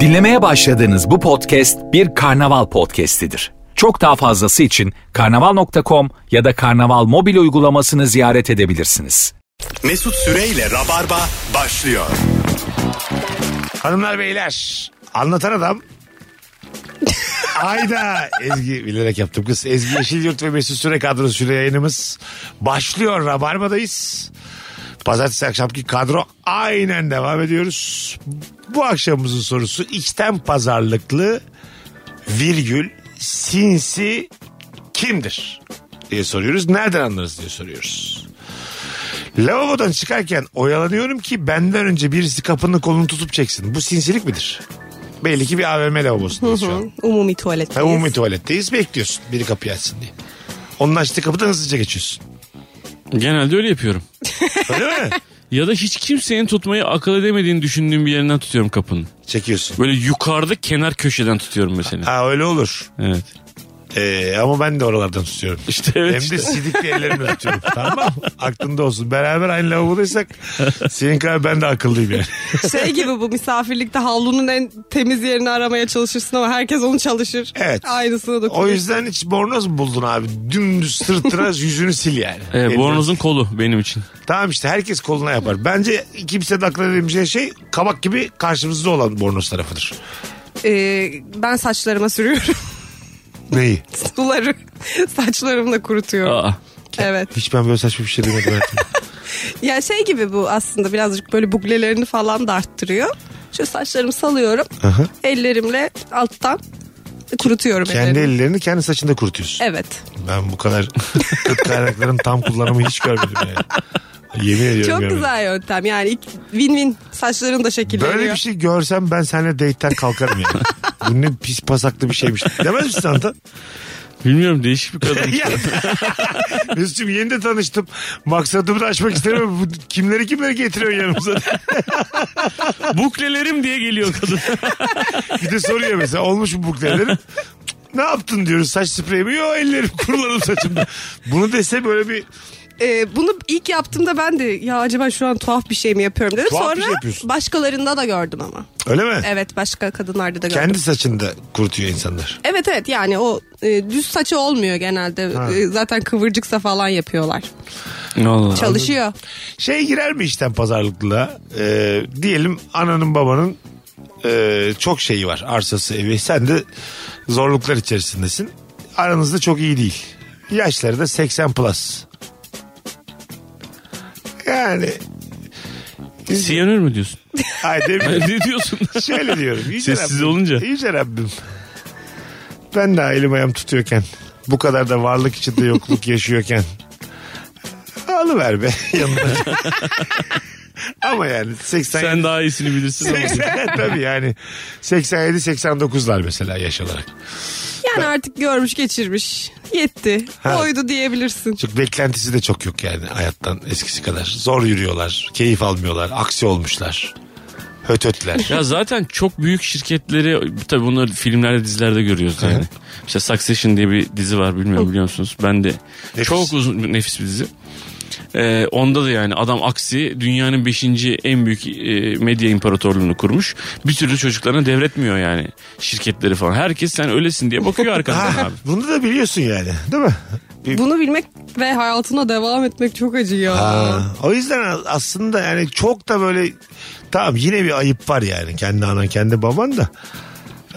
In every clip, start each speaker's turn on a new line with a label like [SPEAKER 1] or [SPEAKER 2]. [SPEAKER 1] Dinlemeye başladığınız bu podcast bir karnaval podcastidir. Çok daha fazlası için karnaval.com ya da karnaval mobil uygulamasını ziyaret edebilirsiniz.
[SPEAKER 2] Mesut Süreyle Rabarba başlıyor.
[SPEAKER 3] Hanımlar beyler anlatan adam Ayda Ezgi bilerek yaptım kız. Ezgi Yeşilyurt ve Mesut Süre kadrosuyla yayınımız başlıyor. Rabarba'dayız. Pazartesi akşamki kadro aynen devam ediyoruz. Bu akşamımızın sorusu içten pazarlıklı virgül sinsi kimdir diye soruyoruz. Nereden anlarız diye soruyoruz. Lavabodan çıkarken oyalanıyorum ki benden önce birisi kapının kolunu tutup çeksin. Bu sinsilik midir? Belli ki bir AVM lavabosundayız şu an.
[SPEAKER 4] Umumi tuvalet.
[SPEAKER 3] Ha, umumi tuvaletteyiz bekliyorsun biri kapıyı açsın diye. Onun açtığı kapıdan hızlıca geçiyorsun.
[SPEAKER 5] Genelde öyle yapıyorum.
[SPEAKER 3] Öyle mi?
[SPEAKER 5] Ya da hiç kimsenin tutmayı akıl edemediğini düşündüğüm bir yerinden tutuyorum kapının.
[SPEAKER 3] Çekiyorsun.
[SPEAKER 5] Böyle yukarıda kenar köşeden tutuyorum mesela.
[SPEAKER 3] Ha öyle olur.
[SPEAKER 5] Evet.
[SPEAKER 3] Ee, ama ben de oralardan tutuyorum.
[SPEAKER 5] İşte evet.
[SPEAKER 3] Hem de sidikli ellerimle tutuyorum. tamam mı? Aklında olsun. Beraber aynı lavabodaysak senin kadar ben de akıllıyım yani.
[SPEAKER 4] Şey gibi bu misafirlikte havlunun en temiz yerini aramaya çalışırsın ama herkes onu çalışır.
[SPEAKER 3] Evet.
[SPEAKER 4] Aynısını da
[SPEAKER 3] O yüzden hiç bornoz mu buldun abi? Dümdüz sırtına yüzünü sil yani.
[SPEAKER 5] Evet,
[SPEAKER 3] Elini-
[SPEAKER 5] bornozun kolu benim için.
[SPEAKER 3] Tamam işte herkes koluna yapar. Bence kimse de aklına edemeyeceği şey kabak gibi karşımızda olan bornoz tarafıdır.
[SPEAKER 4] Ee, ben saçlarıma sürüyorum.
[SPEAKER 3] Neyi?
[SPEAKER 4] Suları saçlarımla kurutuyorum.
[SPEAKER 5] Aa.
[SPEAKER 4] Evet.
[SPEAKER 3] Hiç ben böyle saçma bir şey duymadım hayatımda.
[SPEAKER 4] Ya şey gibi bu aslında birazcık böyle buglelerini falan da arttırıyor. Şu saçlarımı salıyorum.
[SPEAKER 3] Aha.
[SPEAKER 4] Ellerimle alttan kurutuyorum
[SPEAKER 3] kendi
[SPEAKER 4] ellerimi.
[SPEAKER 3] ellerini kendi saçında kurutuyorsun.
[SPEAKER 4] Evet.
[SPEAKER 3] Ben bu kadar kıt kaynakların tam kullanımı hiç görmedim yani. Yemin ediyorum.
[SPEAKER 4] Çok
[SPEAKER 3] görmedim.
[SPEAKER 4] güzel yöntem. Yani ilk- win-win saçların da şekilleniyor.
[SPEAKER 3] Böyle bir şey görsem ben seninle date'ten kalkarım yani. Bu ne pis pasaklı bir şeymiş. Demez misin Antan?
[SPEAKER 5] Bilmiyorum değişik bir kadın.
[SPEAKER 3] Ya. Mesut'cum yeni de tanıştım. Maksadımı da aşmak isterim. Bu Kimleri kimleri getiriyor yanımıza?
[SPEAKER 5] Buklelerim diye geliyor kadın.
[SPEAKER 3] Bir de soruyor mesela olmuş mu buklelerim? Ne yaptın diyoruz saç spreyi mi? Yo ellerim kuruladım saçımda. Bunu dese böyle bir
[SPEAKER 4] Ee, bunu ilk yaptığımda ben de ya acaba şu an tuhaf bir şey mi yapıyorum dedim.
[SPEAKER 3] Tuhaf bir
[SPEAKER 4] Sonra
[SPEAKER 3] şey yapıyorsun.
[SPEAKER 4] başkalarında da gördüm ama.
[SPEAKER 3] öyle mi?
[SPEAKER 4] Evet başka kadınlarda da gördüm.
[SPEAKER 3] Kendi saçında kurutuyor insanlar.
[SPEAKER 4] Evet evet yani o e, düz saçı olmuyor genelde.
[SPEAKER 3] Ha.
[SPEAKER 4] E, zaten kıvırcıksa falan yapıyorlar.
[SPEAKER 5] Allah.
[SPEAKER 4] Çalışıyor.
[SPEAKER 3] Şey girer mi işten pazarlıklığa? Ee, diyelim ananın babanın e, çok şeyi var. Arsası evi. Sen de zorluklar içerisindesin. Aranızda çok iyi değil. Yaşları da 80 plus. Yani
[SPEAKER 5] Siyanür mü diyorsun?
[SPEAKER 3] Ay
[SPEAKER 5] Hayır,
[SPEAKER 3] demin
[SPEAKER 5] ne diyorsun?
[SPEAKER 3] şöyle diyorum. Yüce
[SPEAKER 5] Sessiz
[SPEAKER 3] Rabbim,
[SPEAKER 5] olunca.
[SPEAKER 3] Yüce Rabbim. Ben de elim ayağım tutuyorken bu kadar da varlık içinde yokluk yaşıyorken alıver be yanına. Ama yani 80
[SPEAKER 5] Sen daha iyisini bilirsin ama.
[SPEAKER 3] 80 tabii yani 87 89'lar mesela yaş olarak.
[SPEAKER 4] Yani artık görmüş geçirmiş. Yetti.
[SPEAKER 3] Ha.
[SPEAKER 4] Oydu diyebilirsin.
[SPEAKER 3] Çok beklentisi de çok yok yani hayattan eskisi kadar. Zor yürüyorlar, keyif almıyorlar, aksi olmuşlar. Hötötler.
[SPEAKER 5] Ya zaten çok büyük şirketleri tabii bunları filmlerde dizilerde görüyoruz yani. Mesela Succession diye bir dizi var bilmiyorum biliyor musunuz? Ben de
[SPEAKER 3] Nefis.
[SPEAKER 5] çok uzun nefis bir dizi. Ee, onda da yani adam aksi dünyanın 5. en büyük e, medya imparatorluğunu kurmuş. Bir türlü çocuklarına devretmiyor yani şirketleri falan. Herkes sen ölesin diye bakıyor arkandan
[SPEAKER 3] Ha,
[SPEAKER 5] abi.
[SPEAKER 3] bunu da biliyorsun yani değil mi? Bir-
[SPEAKER 4] Bunu bilmek ve hayatına devam etmek çok acı ya.
[SPEAKER 3] Ha, o yüzden aslında yani çok da böyle tamam yine bir ayıp var yani kendi anan kendi baban da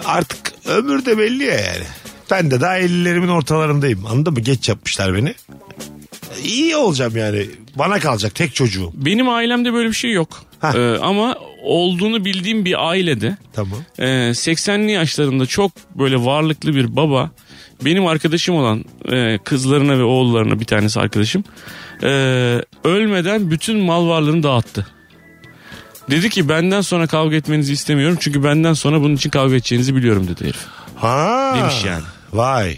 [SPEAKER 3] artık ömür de belli ya yani. Ben de daha 50'lerimin ortalarındayım anladın mı? Geç yapmışlar beni. İyi olacağım yani. Bana kalacak tek çocuğum.
[SPEAKER 5] Benim ailemde böyle bir şey yok.
[SPEAKER 3] Ha.
[SPEAKER 5] Ee, ama olduğunu bildiğim bir ailede
[SPEAKER 3] Tamam.
[SPEAKER 5] Ee, 80'li yaşlarında çok böyle varlıklı bir baba benim arkadaşım olan e, kızlarına ve oğullarına bir tanesi arkadaşım e, ölmeden bütün mal varlığını dağıttı. Dedi ki benden sonra kavga etmenizi istemiyorum çünkü benden sonra bunun için kavga edeceğinizi biliyorum dedi herif.
[SPEAKER 3] Ha.
[SPEAKER 5] Demiş yani.
[SPEAKER 3] Vay.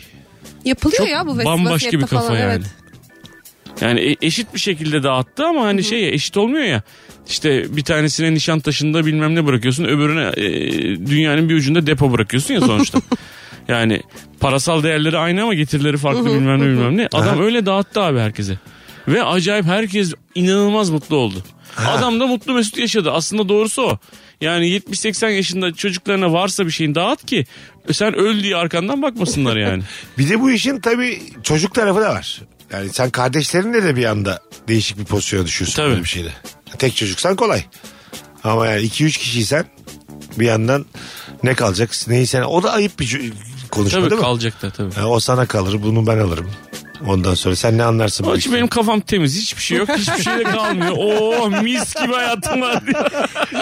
[SPEAKER 4] Yapılıyor
[SPEAKER 5] Çok
[SPEAKER 4] ya bu vas- vasiyette
[SPEAKER 5] bambaşka bir kafa
[SPEAKER 4] falan.
[SPEAKER 5] yani.
[SPEAKER 4] Evet.
[SPEAKER 5] Yani e- eşit bir şekilde dağıttı ama hani şey eşit olmuyor ya. İşte bir tanesine nişan taşında bilmem ne bırakıyorsun öbürüne e, dünyanın bir ucunda depo bırakıyorsun ya sonuçta. yani parasal değerleri aynı ama getirileri farklı bilmem ne bilmem ne. Adam öyle dağıttı abi herkese. Ve acayip herkes inanılmaz mutlu oldu. Adam da mutlu mesut yaşadı. Aslında doğrusu o. Yani 70-80 yaşında çocuklarına varsa bir şeyin dağıt ki sen öl diye arkandan bakmasınlar yani.
[SPEAKER 3] Bir de bu işin tabii çocuk tarafı da var. Yani sen kardeşlerinle de bir anda değişik bir pozisyona düşüyorsun
[SPEAKER 5] Tabii.
[SPEAKER 3] böyle bir şeyle. Tek çocuksan kolay. Ama yani 2-3 kişiysen bir yandan ne kalacak? Neyi sen o da ayıp bir cü- konuşma
[SPEAKER 5] tabii
[SPEAKER 3] değil mi?
[SPEAKER 5] kalacak da tabii.
[SPEAKER 3] Ha, o sana kalır, bunu ben alırım. Ondan sonra sen ne anlarsın bu
[SPEAKER 5] Onun için
[SPEAKER 3] işten?
[SPEAKER 5] benim kafam temiz. Hiçbir şey yok. Hiçbir şey de kalmıyor. Oo mis gibi hayatım var diye.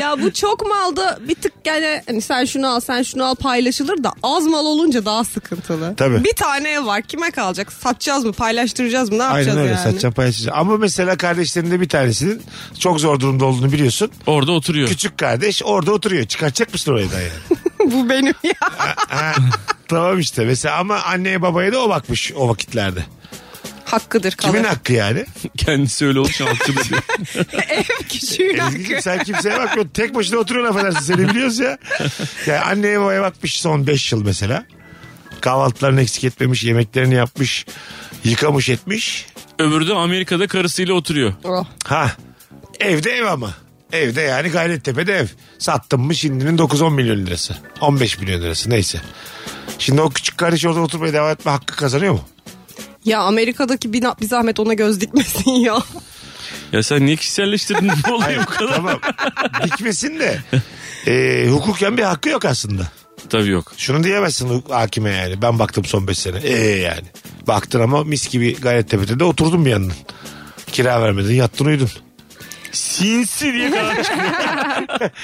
[SPEAKER 4] Ya bu çok malda bir tık yani hani sen şunu al sen şunu al paylaşılır da az mal olunca daha sıkıntılı.
[SPEAKER 3] Tabii.
[SPEAKER 4] Bir taneye var kime kalacak? Satacağız mı paylaştıracağız mı ne yapacağız
[SPEAKER 3] Aynen öyle
[SPEAKER 4] yani?
[SPEAKER 3] satacağım paylaşacağım. Ama mesela kardeşlerinde bir tanesinin çok zor durumda olduğunu biliyorsun.
[SPEAKER 5] Orada oturuyor.
[SPEAKER 3] Küçük kardeş orada oturuyor. Çıkartacak mısın orayı da yani?
[SPEAKER 4] bu benim ya.
[SPEAKER 3] Ha, tamam işte mesela ama anneye babaya da o bakmış o vakitlerde.
[SPEAKER 4] Hakkıdır kalır.
[SPEAKER 3] Kimin hakkı yani?
[SPEAKER 5] Kendisi öyle olmuş halkçıdır diyor.
[SPEAKER 4] Ev küçüğün hakkı.
[SPEAKER 3] Ezgi'cim sen kimseye bakmıyorsun. Tek başına oturuyorsun affedersin seni biliyoruz ya. Yani anneye babaya bakmış son 5 yıl mesela. Kahvaltılarını eksik etmemiş, yemeklerini yapmış, yıkamış etmiş.
[SPEAKER 5] Öbürü de Amerika'da karısıyla oturuyor.
[SPEAKER 4] Oh.
[SPEAKER 3] Ha evde ev ama. Evde yani Gayrettepe'de ev. Sattım mı şimdinin 9-10 milyon lirası. 15 milyon lirası neyse. Şimdi o küçük kardeş orada oturmaya devam etme hakkı kazanıyor mu?
[SPEAKER 4] Ya Amerika'daki bir, bir zahmet ona göz dikmesin ya.
[SPEAKER 5] Ya sen niye kişiselleştirdin bu olayı bu kadar?
[SPEAKER 3] Tamam. Dikmesin de. E, hukuken bir hakkı yok aslında.
[SPEAKER 5] Tabii yok.
[SPEAKER 3] Şunu diyemezsin huk- hakime yani. Ben baktım son 5 sene. Ee yani. Baktın ama mis gibi Gayrettepe'de de oturdun bir yandan. Kira vermedin yattın uyudun.
[SPEAKER 5] Sinsi diye kadar çıkıyor.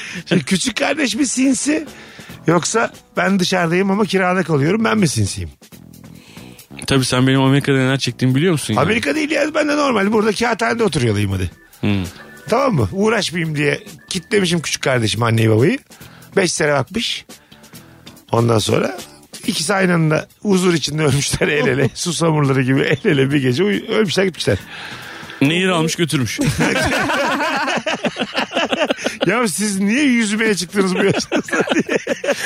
[SPEAKER 3] Şimdi küçük kardeş mi sinsi? Yoksa ben dışarıdayım ama kirada kalıyorum ben mi sinsiyim?
[SPEAKER 5] Tabii sen benim Amerika'da neler çektiğimi biliyor musun? yani?
[SPEAKER 3] Amerika değil ya ben de normal burada kağıthanede oturuyordayım hadi.
[SPEAKER 5] Hmm.
[SPEAKER 3] Tamam mı? Uğraşmayayım diye kitlemişim küçük kardeşim anneyi babayı. 5 sene bakmış. Ondan sonra ikisi aynı anda huzur içinde ölmüşler el ele. Susamurları gibi el ele bir gece uyu- ölmüşler gitmişler.
[SPEAKER 5] Nehir almış götürmüş.
[SPEAKER 3] Ya siz niye yüzmeye çıktınız bu yaşta?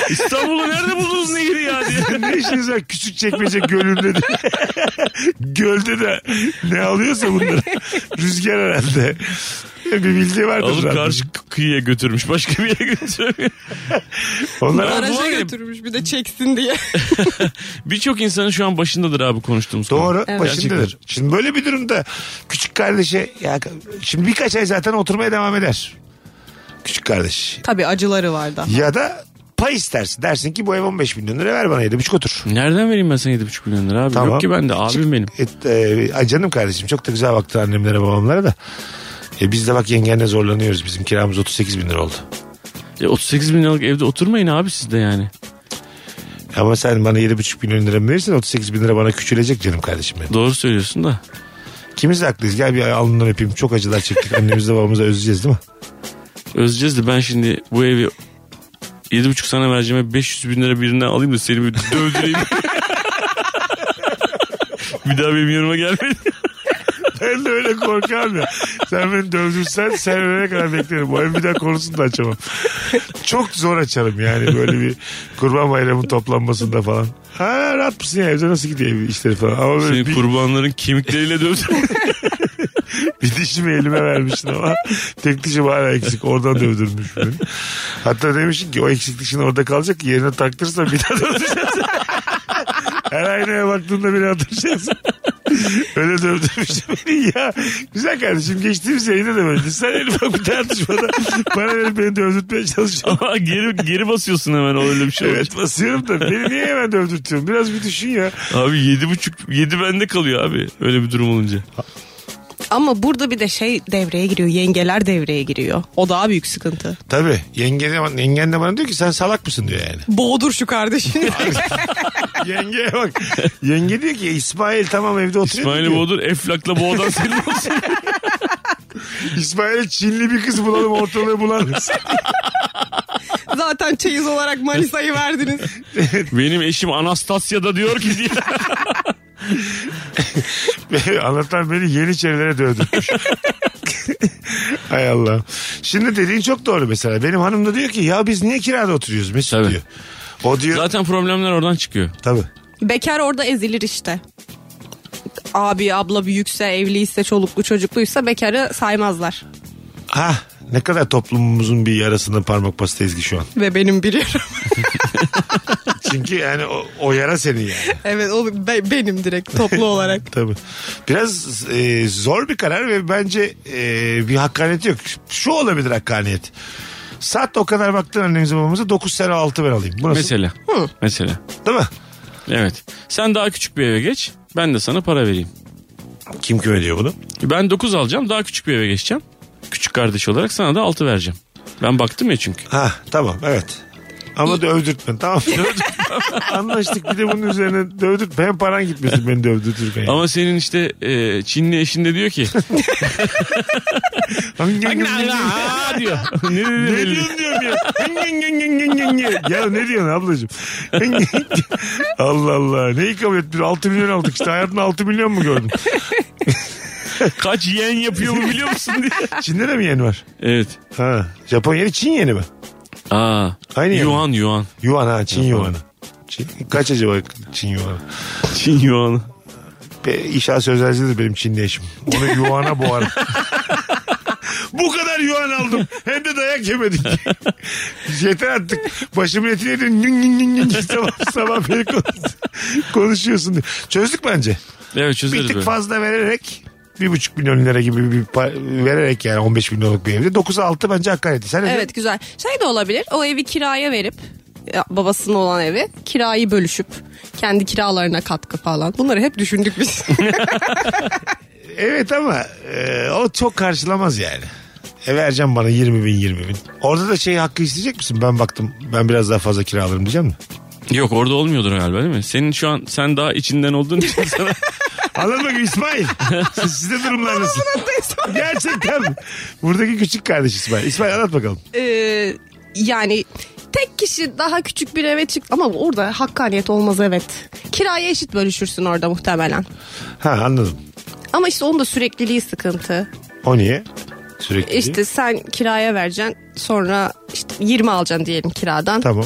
[SPEAKER 5] İstanbul'u nerede buldunuz nehri ya diye.
[SPEAKER 3] ne işiniz var küçük çekmece gölünde de. Gölde de ne alıyorsa bunları. Rüzgar herhalde. Bir bildiği vardır.
[SPEAKER 5] Alıp
[SPEAKER 3] zaten.
[SPEAKER 5] karşı kıyıya götürmüş. Başka bir yere götürmüyor.
[SPEAKER 3] Onlar
[SPEAKER 5] Ara- bu
[SPEAKER 4] Araca
[SPEAKER 5] arada-
[SPEAKER 4] götürmüş bir de çeksin diye.
[SPEAKER 5] Birçok insanın şu an başındadır abi konuştuğumuz konu.
[SPEAKER 3] Doğru
[SPEAKER 4] Evet.
[SPEAKER 3] başındadır. Şimdi böyle bir durumda küçük kardeşe ya şimdi birkaç ay zaten oturmaya devam eder. Küçük kardeş.
[SPEAKER 4] Tabii acıları var da.
[SPEAKER 3] Ya da pay istersin. Dersin ki bu ev 15 milyon lira ver bana 7,5 otur.
[SPEAKER 5] Nereden vereyim ben sana 7,5 milyon lira abi?
[SPEAKER 3] Tamam.
[SPEAKER 5] Yok ki ben de abim benim.
[SPEAKER 3] Et, e, ay canım kardeşim çok da güzel baktın annemlere babamlara da. E biz de bak yengenle zorlanıyoruz. Bizim kiramız 38 bin lira oldu.
[SPEAKER 5] Ya 38 E, bin liralık evde oturmayın abi siz de yani.
[SPEAKER 3] Ama sen bana 7,5 milyon lira mı verirsen 38 bin lira bana küçülecek canım kardeşim benim.
[SPEAKER 5] Doğru söylüyorsun da.
[SPEAKER 3] Kimiz de haklıyız. Gel bir alnından öpeyim. Çok acılar çektik. Annemizi de babamızı özleyeceğiz değil mi?
[SPEAKER 5] Özeceğiz de ben şimdi bu evi 7,5 sana vereceğime 500 bin lira birinden alayım da seni bir dövdüreyim. bir daha benim yanıma gelmedi.
[SPEAKER 3] Ben de öyle korkarım ya. Sen beni dövdürsen sen ölene kadar beklerim. Bu ev bir daha konusunu da açamam. Çok zor açarım yani böyle bir kurban bayramı toplanmasında falan. Ha rahat mısın ya evde nasıl gidiyor ev işleri falan. Ama böyle
[SPEAKER 5] Seni
[SPEAKER 3] bir,
[SPEAKER 5] kurbanların kemikleriyle dövdüm.
[SPEAKER 3] bir dişimi elime vermişsin ama tek dişim hala eksik. Oradan dövdürmüş beni. Hatta demişsin ki o eksik dişin orada kalacak yerine taktırsa bir daha dövdüreceğiz. Her aynaya baktığında beni hatırlayacaksın. Öyle dövdürmüş beni ya. Güzel kardeşim geçtiğimiz yayında da böyle. Sen en ufak bir tartışmada para verip beni dövdürtmeye çalışıyorsun.
[SPEAKER 5] Ama geri, geri basıyorsun hemen öyle bir şey olacak.
[SPEAKER 3] Evet basıyorum da beni niye hemen dövdürtüyorsun? Biraz bir düşün ya.
[SPEAKER 5] Abi yedi buçuk, yedi bende kalıyor abi öyle bir durum olunca.
[SPEAKER 4] Ama burada bir de şey devreye giriyor. Yengeler devreye giriyor. O daha büyük sıkıntı.
[SPEAKER 3] Tabii yenge de, yengen de bana diyor ki sen salak mısın diyor yani.
[SPEAKER 4] Boğdur şu kardeşini.
[SPEAKER 3] Yengeye bak. Yenge diyor ki İsmail tamam evde oturuyor.
[SPEAKER 5] İsmail'i
[SPEAKER 3] diyor.
[SPEAKER 5] boğdur, Eflak'la boğdan senin olsun.
[SPEAKER 3] İsmail'e Çinli bir kız bulalım ortalığı bulalım.
[SPEAKER 4] Zaten çeyiz olarak Manisa'yı verdiniz.
[SPEAKER 5] Benim eşim Anastasya'da diyor ki diye.
[SPEAKER 3] Anlatan beni Yeniçerilere dövdürmüş. Hay Allah. Şimdi dediğin çok doğru mesela. Benim hanım da diyor ki ya biz niye kirada oturuyoruz Mesut
[SPEAKER 5] Tabii.
[SPEAKER 3] diyor. O diyor
[SPEAKER 5] Zaten problemler oradan çıkıyor.
[SPEAKER 3] tabii.
[SPEAKER 4] Bekar orada ezilir işte. Abi abla büyükse evliyse çoluklu çocukluysa bekarı saymazlar.
[SPEAKER 3] Ha ne kadar toplumumuzun bir yarasına parmak bastı Ezgi şu an.
[SPEAKER 4] Ve benim bir yaram.
[SPEAKER 3] Çünkü yani o, o yara senin yani.
[SPEAKER 4] evet o be- benim direkt toplu olarak.
[SPEAKER 3] Tabii. Biraz e, zor bir karar ve bence e, bir hakkaniyet yok. Şu olabilir hakkaniyet. Saat o kadar baktın annemize babamıza 9 sene 6 ben alayım. Bu nasıl?
[SPEAKER 5] Mesela. Mesela.
[SPEAKER 3] Değil mi?
[SPEAKER 5] Evet. Sen daha küçük bir eve geç. Ben de sana para vereyim.
[SPEAKER 3] Kim kime diyor bunu?
[SPEAKER 5] Ben 9 alacağım. Daha küçük bir eve geçeceğim. Küçük kardeş olarak sana da 6 vereceğim. Ben baktım ya çünkü.
[SPEAKER 3] Ha tamam evet. Ama dövdürtme tamam mı? Anlaştık bir de bunun üzerine dövdürtme. Hem paran gitmesin beni dövdürtürken. yani.
[SPEAKER 5] Ama senin işte e, Çinli eşin de diyor ki. Aa diyor. Ne dedi
[SPEAKER 3] Ne
[SPEAKER 5] belli değil.
[SPEAKER 3] diyorsun diyorum ya. ya ne diyorsun ablacığım? Allah Allah. Neyi kabul etmiyor? 6 milyon aldık işte. Hayatında 6 milyon mu gördün?
[SPEAKER 5] Kaç yen yapıyor mu biliyor musun diye.
[SPEAKER 3] Çin'de de mi yeni var?
[SPEAKER 5] Evet.
[SPEAKER 3] Ha. Japon yeni Çin yeni mi?
[SPEAKER 5] Aa.
[SPEAKER 3] Aynı yen.
[SPEAKER 5] Yuan yuan.
[SPEAKER 3] Yuan ha Çin yuanı. Çin, kaç acaba Çin yuanı?
[SPEAKER 5] Çin yuanı.
[SPEAKER 3] Be, İşa Sözelci'dir benim Çinli eşim. Onu yuana boğar. Bu kadar yuan aldım. Hem de dayak yemedik. Yeter artık. Başımın etini yedin. Nün nün nün nün. Sabah, sabah beni konuş- konuşuyorsun diye. Çözdük bence.
[SPEAKER 5] Evet
[SPEAKER 3] Bir
[SPEAKER 5] çözeriz
[SPEAKER 3] tık
[SPEAKER 5] böyle.
[SPEAKER 3] fazla vererek bir buçuk milyon lira gibi bir pa- vererek yani 15 milyonluk bir evde. 9'a 6 bence hakaret. Sen ne
[SPEAKER 4] Evet güzel. Şey de olabilir. O evi kiraya verip ya, babasının olan evi kirayı bölüşüp kendi kiralarına katkı falan. Bunları hep düşündük biz.
[SPEAKER 3] diyorsun? evet ama e, o çok karşılamaz yani. E vereceğim bana 20 bin 20 bin. Orada da şey hakkı isteyecek misin? Ben baktım ben biraz daha fazla kiralarım diyeceğim mi?
[SPEAKER 5] Yok orada olmuyordur galiba değil mi? Senin şu an sen daha içinden olduğun için sana
[SPEAKER 3] Anladın mı İsmail? Siz, sizde durumlar nasıl? Gerçekten mi? Buradaki küçük kardeş İsmail. İsmail anlat bakalım.
[SPEAKER 4] Ee, yani tek kişi daha küçük bir eve çık ama orada hakkaniyet olmaz evet. Kiraya eşit bölüşürsün orada muhtemelen.
[SPEAKER 3] Ha anladım.
[SPEAKER 4] Ama işte onun da sürekliliği sıkıntı.
[SPEAKER 3] O niye? Sürekli.
[SPEAKER 4] İşte sen kiraya vereceksin sonra işte 20 alacaksın diyelim kiradan.
[SPEAKER 3] Tamam.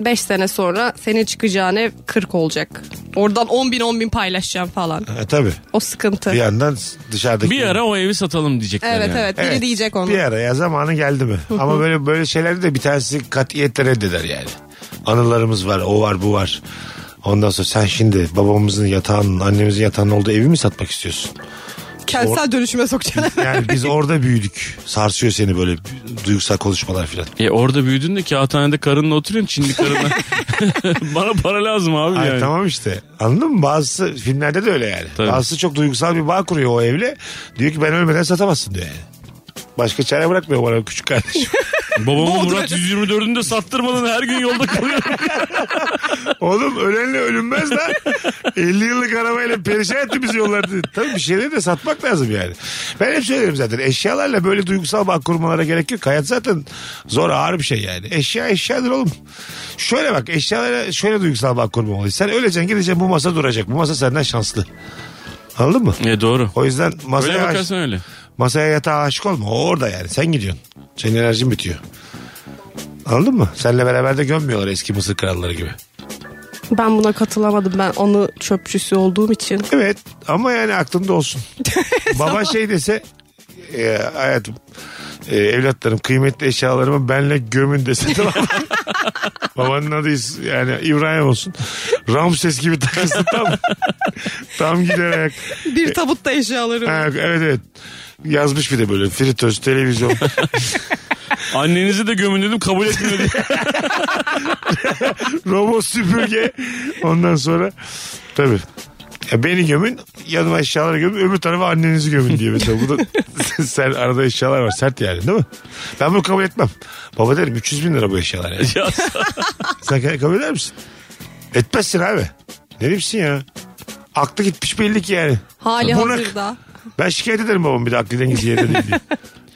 [SPEAKER 4] 5 sene sonra senin çıkacağın ev 40 olacak. Oradan 10 bin 10 bin paylaşacağım falan.
[SPEAKER 3] E, tabii.
[SPEAKER 4] O sıkıntı.
[SPEAKER 3] Bir yandan dışarıdaki...
[SPEAKER 5] bir ara o evi satalım diyecekler
[SPEAKER 4] Evet
[SPEAKER 5] yani.
[SPEAKER 4] evet biri
[SPEAKER 3] Evet,
[SPEAKER 4] diyecek onu.
[SPEAKER 3] Bir ara ya zamanı geldi mi? Ama böyle böyle şeyleri de bir tanesi katiyetle reddeder yani. Anılarımız var, o var, bu var. Ondan sonra sen şimdi babamızın yatağının, annemizin yatağının olduğu evi mi satmak istiyorsun?
[SPEAKER 4] Kentsel dönüşüme sokacaksın.
[SPEAKER 3] Yani biz orada büyüdük. Sarsıyor seni böyle duygusal konuşmalar filan.
[SPEAKER 5] E orada büyüdün de kağıthanede karınla oturuyorsun Çinli karınla. Bana para lazım abi
[SPEAKER 3] Ay,
[SPEAKER 5] yani.
[SPEAKER 3] tamam işte. Anladın mı? Bazısı filmlerde de öyle yani.
[SPEAKER 5] Tabii.
[SPEAKER 3] Bazısı çok duygusal bir bağ kuruyor o evle. Diyor ki ben ölmeden satamazsın diyor yani. Başka çare bırakmıyor bana küçük kardeşim.
[SPEAKER 5] Babamın Murat 124'ünü de sattırmadan her gün yolda kalıyorum.
[SPEAKER 3] Oğlum ölenle ölünmez lan. 50 yıllık arabayla perişan etti bizi yollarda. Tabii bir şeyleri de satmak lazım yani. Ben hep söylerim zaten eşyalarla böyle duygusal bağ kurmalara gerek yok. Hayat zaten zor ağır bir şey yani. Eşya eşyadır oğlum. Şöyle bak eşyalara şöyle duygusal bağ kurmamalıyız. Sen öleceksin gideceksin bu masa duracak. Bu masa senden şanslı. Anladın mı?
[SPEAKER 5] e doğru.
[SPEAKER 3] O yüzden
[SPEAKER 5] Öyle
[SPEAKER 3] masaya, aş-
[SPEAKER 5] bakarsan öyle.
[SPEAKER 3] masaya yatağa aşık olma. O orada yani. Sen gidiyorsun. Senin enerjin bitiyor. Anladın mı? Seninle beraber de gömmüyorlar eski Mısır kralları gibi.
[SPEAKER 4] Ben buna katılamadım ben onu çöpçüsü olduğum için.
[SPEAKER 3] Evet ama yani aklımda olsun. Baba şey dese e, hayatım e, evlatlarım kıymetli eşyalarımı benle gömün dese tamam mı? Babanın adı is- yani İbrahim olsun. Ramses gibi takılsın tam. tam gider ayak.
[SPEAKER 4] Bir tabutta eşyalarım.
[SPEAKER 3] E- Ha, evet evet. Yazmış bir de böyle fritöz, televizyon.
[SPEAKER 5] Annenizi de gömün dedim kabul etmiyor diye.
[SPEAKER 3] robot süpürge. Ondan sonra tabii. Ya beni gömün yanıma eşyaları gömün öbür tarafa annenizi gömün diye mesela. Bu da sen arada eşyalar var sert yani değil mi? Ben bunu kabul etmem. Baba derim 300 bin lira bu eşyalar yani.
[SPEAKER 5] Ya,
[SPEAKER 3] Sen kabul eder misin? Etmezsin abi. Ne bilsin ya? Aklı gitmiş belli ki yani.
[SPEAKER 4] Hali
[SPEAKER 3] Bunak.
[SPEAKER 4] hazırda.
[SPEAKER 3] Ben şikayet ederim babam bir de aklı dengesi yerine değil diye.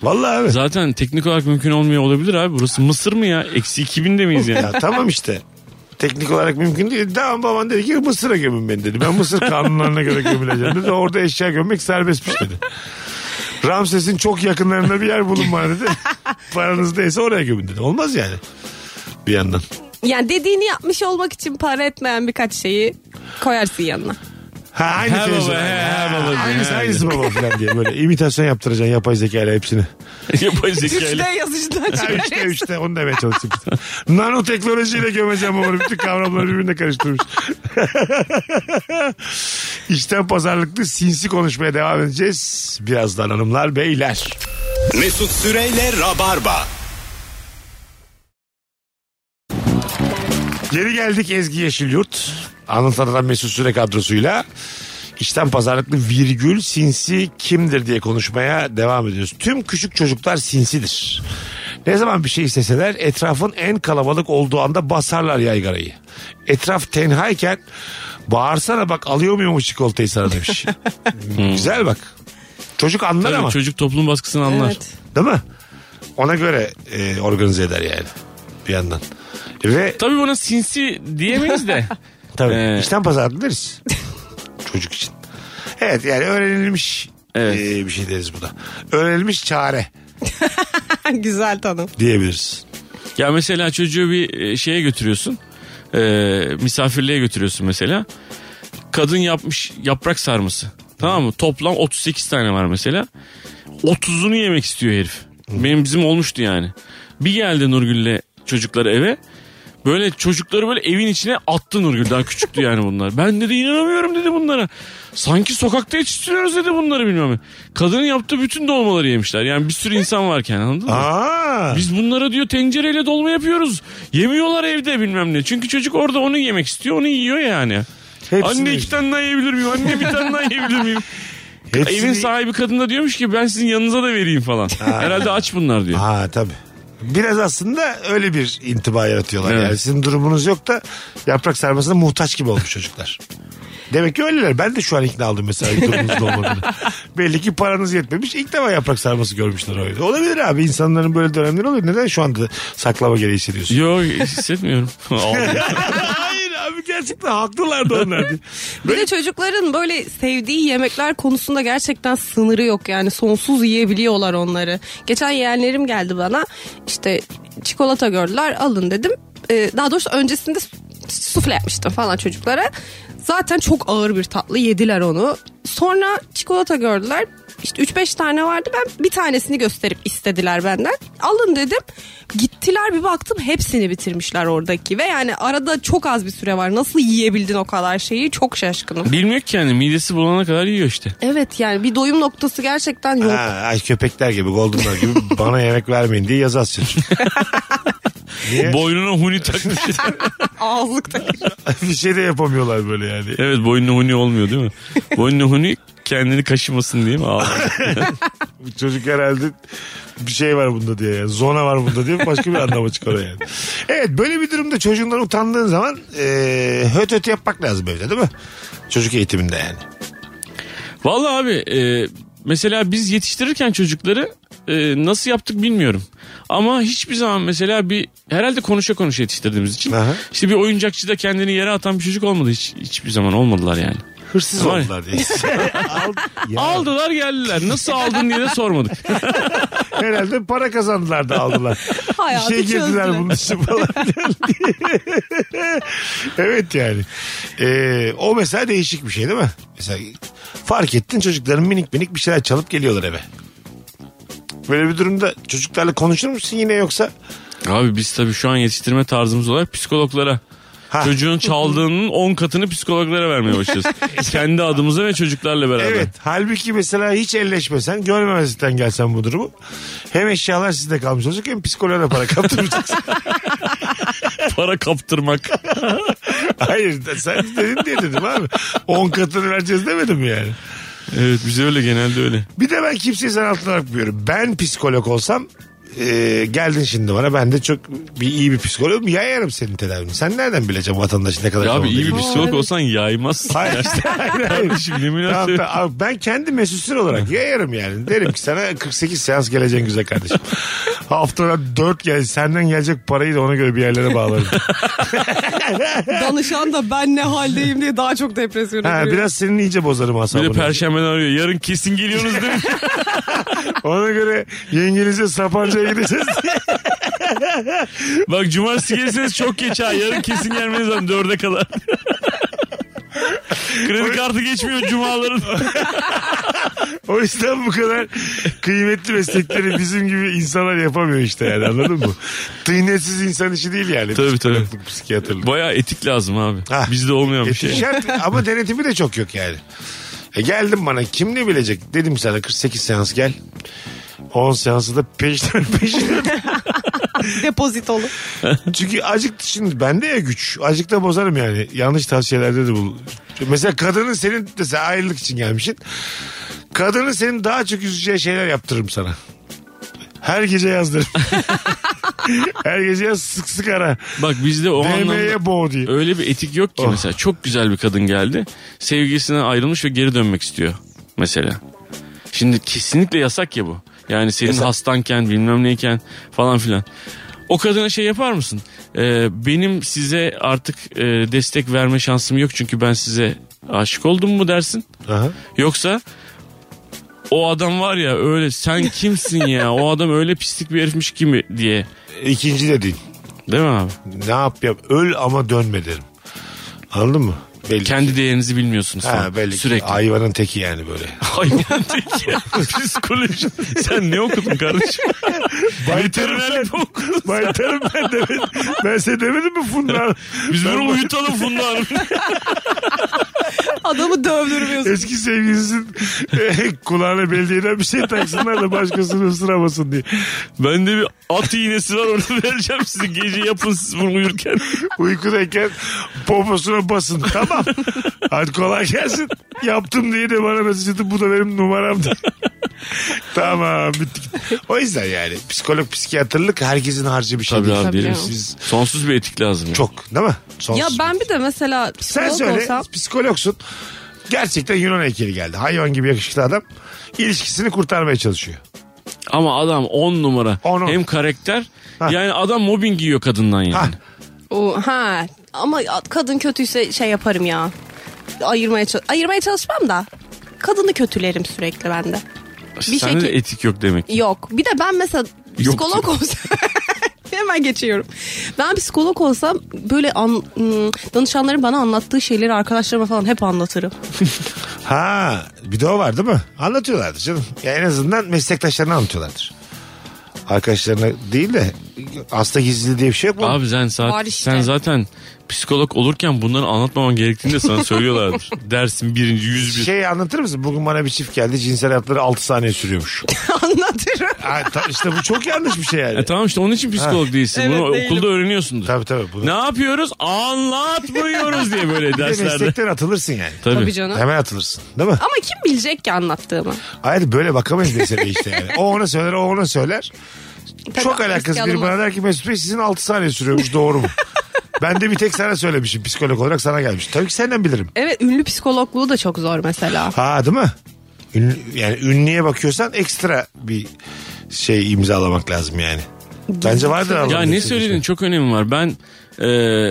[SPEAKER 3] Vallahi abi.
[SPEAKER 5] Zaten teknik olarak mümkün olmuyor olabilir abi. Burası Mısır mı ya? Eksi 2000 de miyiz yani?
[SPEAKER 3] Ya tamam işte. Teknik olarak mümkün değil. Tamam baban dedi ki Mısır'a gömün beni dedi. Ben Mısır kanunlarına göre gömüleceğim dedi. Orada eşya gömmek serbestmiş dedi. Ramses'in çok yakınlarında bir yer bulun bana dedi. Paranız neyse oraya gömün dedi. Olmaz yani. Bir yandan.
[SPEAKER 4] Yani dediğini yapmış olmak için para etmeyen birkaç şeyi koyarsın yanına.
[SPEAKER 3] Ha, aynı
[SPEAKER 5] He
[SPEAKER 3] teyze.
[SPEAKER 5] baba, he, he baba diye,
[SPEAKER 3] Aynısı,
[SPEAKER 5] he.
[SPEAKER 3] aynısı baba falan diye böyle imitasyon yaptıracaksın yapay zekayla hepsini.
[SPEAKER 5] Yapay zekayla.
[SPEAKER 4] yazıcıdan
[SPEAKER 3] Ha, üçte üçte onu demeye çalıştım. Nanoteknolojiyle gömeceğim onu. Bütün kavramları birbirine karıştırmış. İşten pazarlıklı sinsi konuşmaya devam edeceğiz. Birazdan hanımlar beyler.
[SPEAKER 2] Mesut Süreyle Rabarba.
[SPEAKER 3] Geri geldik Ezgi Yeşilyurt. Anlatan Mesut Süre kadrosuyla. İşten pazarlıklı virgül sinsi kimdir diye konuşmaya devam ediyoruz. Tüm küçük çocuklar sinsidir. Ne zaman bir şey isteseler etrafın en kalabalık olduğu anda basarlar yaygarayı. Etraf tenhayken bağırsana bak alıyor muyum o çikolatayı sana demiş. Hmm. Güzel bak. Çocuk anlar ama
[SPEAKER 5] Tabii çocuk toplum baskısını anlar.
[SPEAKER 4] Evet.
[SPEAKER 3] değil mi? Ona göre e, organize eder yani bir yandan. Ve
[SPEAKER 5] Tabii buna sinsi diyemeyiz de.
[SPEAKER 3] Tabii.
[SPEAKER 5] Ee,
[SPEAKER 3] İşten pazarlık deriz. Çocuk için. Evet yani öğrenilmiş
[SPEAKER 5] Evet.
[SPEAKER 3] eee, bir şey deriz buna. Öğrenilmiş çare
[SPEAKER 4] Güzel tanım.
[SPEAKER 3] diyebiliriz.
[SPEAKER 5] Ya mesela çocuğu bir e, şeye götürüyorsun. E, misafirliğe götürüyorsun mesela. Kadın yapmış yaprak sarması. Tamam mı? Toplam 38 tane var mesela. 30'unu yemek istiyor herif. Benim bizim olmuştu yani. Bir geldi Nurgül'le çocukları eve. Böyle çocukları böyle evin içine attı Nurgül. Daha küçüktü yani bunlar. Ben dedi inanamıyorum dedi bunlara. Sanki sokakta yetiştiriyoruz dedi bunları bilmem ne. Kadının yaptığı bütün dolmaları yemişler. Yani bir sürü insan varken anladın mı?
[SPEAKER 3] Aa,
[SPEAKER 5] Biz bunlara diyor tencereyle dolma yapıyoruz. Yemiyorlar evde bilmem ne. Çünkü çocuk orada onu yemek istiyor onu yiyor yani.
[SPEAKER 3] Hepsini-
[SPEAKER 5] Anne iki tane daha yiyebilir miyim? Anne bir tane daha yiyebilir miyim?
[SPEAKER 3] hepsini-
[SPEAKER 5] Evin sahibi kadın da diyormuş ki ben sizin yanınıza da vereyim falan. Herhalde aç bunlar diyor.
[SPEAKER 3] Ha tabii. Biraz aslında öyle bir intiba yaratıyorlar.
[SPEAKER 5] Evet.
[SPEAKER 3] Yani sizin durumunuz yok da yaprak sarmasına muhtaç gibi olmuş çocuklar. Demek ki öyleler. Ben de şu an ikna aldım mesela durumunuzda olmadığını. Belli ki paranız yetmemiş. İlk defa yaprak sarması görmüşler öyle. Olabilir abi. İnsanların böyle dönemleri oluyor. Neden şu anda saklama gereği hissediyorsun?
[SPEAKER 5] Yok hissetmiyorum. Aldım.
[SPEAKER 3] Hayır abi gerçekten haklılardı onlar.
[SPEAKER 4] Bir de çocukların böyle sevdiği yemekler konusunda gerçekten sınırı yok yani sonsuz yiyebiliyorlar onları. Geçen yeğenlerim geldi bana işte çikolata gördüler alın dedim. Ee, daha doğrusu öncesinde su- sufle yapmıştım falan çocuklara. Zaten çok ağır bir tatlı yediler onu. Sonra çikolata gördüler. İşte 3-5 tane vardı ben bir tanesini gösterip istediler benden. Alın dedim. Gittiler bir baktım hepsini bitirmişler oradaki. Ve yani arada çok az bir süre var. Nasıl yiyebildin o kadar şeyi çok şaşkınım.
[SPEAKER 5] Bilmiyor ki yani midesi bulana kadar yiyor işte.
[SPEAKER 4] Evet yani bir doyum noktası gerçekten yok.
[SPEAKER 3] Ha, ay köpekler gibi, goldenlar gibi bana yemek vermeyin diye yazı asıyor. Niye?
[SPEAKER 5] Boynuna huni takmış.
[SPEAKER 4] Ağızlıktaki.
[SPEAKER 3] bir şey de yapamıyorlar böyle yani.
[SPEAKER 5] evet boynuna huni olmuyor değil mi? Boynuna huni kendini kaşımasın diye mi? Ağlıyor.
[SPEAKER 3] Bu Çocuk herhalde bir şey var bunda diye yani. Zona var bunda diye başka bir anlama çıkıyor yani. Evet böyle bir durumda çocuğundan utandığın zaman eee höt höt yapmak lazım evde değil mi? Çocuk eğitiminde yani.
[SPEAKER 5] Vallahi abi e, mesela biz yetiştirirken çocukları e, nasıl yaptık bilmiyorum. Ama hiçbir zaman mesela bir herhalde konuşa konuşa yetiştirdiğimiz için
[SPEAKER 3] Aha.
[SPEAKER 5] işte bir oyuncakçıda kendini yere atan bir çocuk olmadı hiç, hiçbir zaman olmadılar yani.
[SPEAKER 3] Hırsız
[SPEAKER 5] Var.
[SPEAKER 3] oldular diye. Al- ya.
[SPEAKER 5] Aldılar geldiler. Nasıl aldın diye de sormadık.
[SPEAKER 3] Herhalde para kazandılar da aldılar.
[SPEAKER 4] Hayatı
[SPEAKER 3] Bir şey girdiler
[SPEAKER 4] çözdüler.
[SPEAKER 3] bunun için falan. evet yani. Ee, o mesela değişik bir şey değil mi? Mesela fark ettin çocukların minik minik bir şeyler çalıp geliyorlar eve. Böyle bir durumda çocuklarla konuşur musun yine yoksa?
[SPEAKER 5] Abi biz tabii şu an yetiştirme tarzımız olarak psikologlara
[SPEAKER 3] Ha.
[SPEAKER 5] Çocuğun çaldığının 10 katını psikologlara vermeye başlayacağız. Kendi adımıza ve çocuklarla beraber.
[SPEAKER 3] Evet. Halbuki mesela hiç elleşmesen, görmemezlikten gelsen bu durumu. Hem eşyalar sizde kalmış olacak hem psikoloğa da para kaptıracaksın.
[SPEAKER 5] Para kaptırmak.
[SPEAKER 3] Hayır sen dedin diye dedim abi. 10 katını vereceğiz demedim mi yani.
[SPEAKER 5] Evet bize öyle genelde öyle.
[SPEAKER 3] Bir de ben kimseyi sen altına bakmıyorum. Ben psikolog olsam e, geldin şimdi bana ben de çok bir iyi bir psikologum yayarım senin tedavini. Sen nereden bileceksin vatandaşın ne kadar
[SPEAKER 5] Ya abi
[SPEAKER 3] zorunda
[SPEAKER 5] iyi bir
[SPEAKER 3] değil?
[SPEAKER 5] psikolog
[SPEAKER 4] evet.
[SPEAKER 5] olsan yaymazsın.
[SPEAKER 3] Hayır işte hayır, hayır.
[SPEAKER 5] Şimdi ne
[SPEAKER 3] Tamam,
[SPEAKER 5] münasebet.
[SPEAKER 3] tamam. Abi Ben kendi mesutsun olarak yayarım yani. Derim ki sana 48 seans geleceksin güzel kardeşim. Haftada 4 gel senden gelecek parayı da ona göre bir yerlere bağlarım.
[SPEAKER 4] Danışan da ben ne haldeyim diye daha çok depresyona
[SPEAKER 3] ha,
[SPEAKER 4] giriyor.
[SPEAKER 3] biraz senin iyice bozarım
[SPEAKER 5] Bir de
[SPEAKER 3] asabını.
[SPEAKER 5] perşembeden arıyor. Yarın kesin geliyorsunuz değil mi?
[SPEAKER 3] Ona göre yengenize Sapanca'ya gideceğiz diye.
[SPEAKER 5] Bak cumartesi gelirseniz çok geç ha. Yarın kesin gelmeniz lazım. Dörde kadar. Kredi kartı geçmiyor cumaların.
[SPEAKER 3] O yüzden bu kadar kıymetli meslekleri bizim gibi insanlar yapamıyor işte yani anladın mı? Tıynetsiz insan işi değil yani.
[SPEAKER 5] Tabii, tabii.
[SPEAKER 3] Psikologluk, Psikiyatrlık.
[SPEAKER 5] Baya etik lazım abi.
[SPEAKER 3] Ha.
[SPEAKER 5] Bizde olmayan bir
[SPEAKER 3] Etik
[SPEAKER 5] şey.
[SPEAKER 3] şart ama denetimi de çok yok yani. E geldim bana kim ne bilecek? Dedim sana 48 seans gel. 10 seansı da peşten peşten.
[SPEAKER 4] Depozitolu.
[SPEAKER 3] Çünkü azıcık şimdi bende ya güç. Azıcık da bozarım yani. Yanlış tavsiyelerde de bu. Mesela kadının senin mesela ayrılık için gelmişsin. Kadının senin daha çok üzeceği şeyler yaptırırım sana. Her gece yazdırırım. Her gece yaz sık sık ara.
[SPEAKER 5] Bak bizde o anlamda
[SPEAKER 3] DM'ye boğ diye.
[SPEAKER 5] öyle bir etik yok ki
[SPEAKER 3] Oh.
[SPEAKER 5] mesela. Çok güzel bir kadın geldi. Sevgilisinden ayrılmış ve geri dönmek istiyor mesela. Şimdi kesinlikle yasak ya bu. Yani senin hastanken bilmem neyken falan filan. O kadına şey yapar mısın? Ee, benim size artık e, destek verme şansım yok çünkü ben size aşık oldum mu dersin?
[SPEAKER 3] Aha.
[SPEAKER 5] Yoksa o adam var ya öyle sen kimsin ya o adam öyle pislik bir herifmiş kimi diye.
[SPEAKER 3] İkinci de değil.
[SPEAKER 5] Değil mi abi?
[SPEAKER 3] Ne yap yap. Öl ama dönme derim. Anladın mı? Belli.
[SPEAKER 5] Kendi değerinizi bilmiyorsunuz
[SPEAKER 3] Ha,
[SPEAKER 5] falan.
[SPEAKER 3] belli. ki.
[SPEAKER 5] Sürekli.
[SPEAKER 3] Hayvanın teki yani böyle.
[SPEAKER 5] Hayvan tek ya. Psikoloji. Sen ne okudun kardeşim? Veterinerlik mi okudun?
[SPEAKER 3] Baytarım ben demedim. Ben size demedim mi Funda?
[SPEAKER 5] Biz bunu uyutalım Funda Hanım.
[SPEAKER 4] Adamı dövdürmüyorsun.
[SPEAKER 3] Eski sevgilisinin eh, kulağına belediyeden bir şey taksınlar da başkasını ısıramasın diye.
[SPEAKER 5] Bende bir at iğnesi var onu vereceğim size. Gece yapın siz bunu uyurken.
[SPEAKER 3] Uykudayken poposuna basın. Tamam. Hadi kolay gelsin. Yaptım diye de bana mesaj attı. Bu da benim numaram diye. tamam bitti. O yüzden yani psikolog psikiyatrlık herkesin harcı bir şey
[SPEAKER 5] Tabii
[SPEAKER 3] değil.
[SPEAKER 5] abi
[SPEAKER 4] Tabii
[SPEAKER 5] derim.
[SPEAKER 4] ya.
[SPEAKER 5] Siz- Sonsuz bir etik lazım. ya.
[SPEAKER 3] Çok değil mi?
[SPEAKER 4] Ya
[SPEAKER 3] Sonsuz.
[SPEAKER 4] ben bir de mesela
[SPEAKER 3] Sen
[SPEAKER 4] psikolog
[SPEAKER 3] söyle
[SPEAKER 4] olsam
[SPEAKER 3] psikologsun. Gerçekten Yunan heykeli geldi. Hayvan gibi yakışıklı adam ilişkisini kurtarmaya çalışıyor.
[SPEAKER 5] Ama adam 10 numara.
[SPEAKER 3] On, on.
[SPEAKER 5] Hem karakter.
[SPEAKER 3] Ha.
[SPEAKER 5] Yani adam mobbing yiyor kadından yani.
[SPEAKER 3] Ha.
[SPEAKER 4] o, ha ama kadın kötüyse şey yaparım ya. Ayırmaya çal- ayırmaya çalışmam da kadını kötülerim sürekli ben de.
[SPEAKER 5] Sende de
[SPEAKER 4] şekil-
[SPEAKER 5] etik yok demek. ki.
[SPEAKER 4] Yok. Bir de ben mesela psikolog olsam hemen geçiyorum. Ben psikolog olsam böyle an, ım, danışanların bana anlattığı şeyleri arkadaşlarıma falan hep anlatırım.
[SPEAKER 3] Ha bir de o var değil mi? Anlatıyorlardır canım. Ya en azından meslektaşlarına anlatıyorlardır. Arkadaşlarına değil de hasta gizli diye bir şey yok mu?
[SPEAKER 5] Abi sen,
[SPEAKER 4] Var
[SPEAKER 5] saat,
[SPEAKER 4] işte.
[SPEAKER 5] sen zaten psikolog olurken bunları anlatmaman gerektiğini de sana söylüyorlardır. Dersin birinci yüz bir.
[SPEAKER 3] şey anlatır mısın? Bugün bana bir çift geldi cinsel hayatları 6 saniye sürüyormuş.
[SPEAKER 4] anlatırım.
[SPEAKER 3] ha, ta- işte bu çok yanlış bir şey yani.
[SPEAKER 5] E tamam işte onun için psikolog değilsin.
[SPEAKER 4] Evet,
[SPEAKER 5] Bunu
[SPEAKER 4] değilim.
[SPEAKER 5] okulda öğreniyorsundur.
[SPEAKER 3] tabii tabii. Bunu.
[SPEAKER 5] Ne yapıyoruz? Anlatmıyoruz diye böyle
[SPEAKER 3] Bir de
[SPEAKER 5] derslerde.
[SPEAKER 3] meslekten atılırsın yani.
[SPEAKER 5] Tabii. Ah.
[SPEAKER 4] Tabii canım.
[SPEAKER 3] Hemen atılırsın değil mi?
[SPEAKER 4] Ama kim bilecek ki anlattığımı?
[SPEAKER 3] Hayır böyle bakamayız meseleye işte yani. O ona söyler o ona söyler.
[SPEAKER 4] Tabii
[SPEAKER 3] Çok
[SPEAKER 4] riske
[SPEAKER 3] alakasız biri
[SPEAKER 4] alınmaz.
[SPEAKER 3] bana der ki Mesut Bey sizin 6 saniye sürüyormuş doğru mu? ben de bir tek sana söylemişim psikolog olarak sana gelmiş. Tabii ki senden bilirim.
[SPEAKER 4] Evet ünlü psikologluğu da çok zor mesela.
[SPEAKER 3] Ha değil mi? Ünlü, yani ünlüye bakıyorsan ekstra bir şey imzalamak lazım yani. Bence vardır
[SPEAKER 5] Ya
[SPEAKER 3] Allah'ın
[SPEAKER 5] ne
[SPEAKER 3] izniyle.
[SPEAKER 5] söylediğin çok önemi var. Ben e,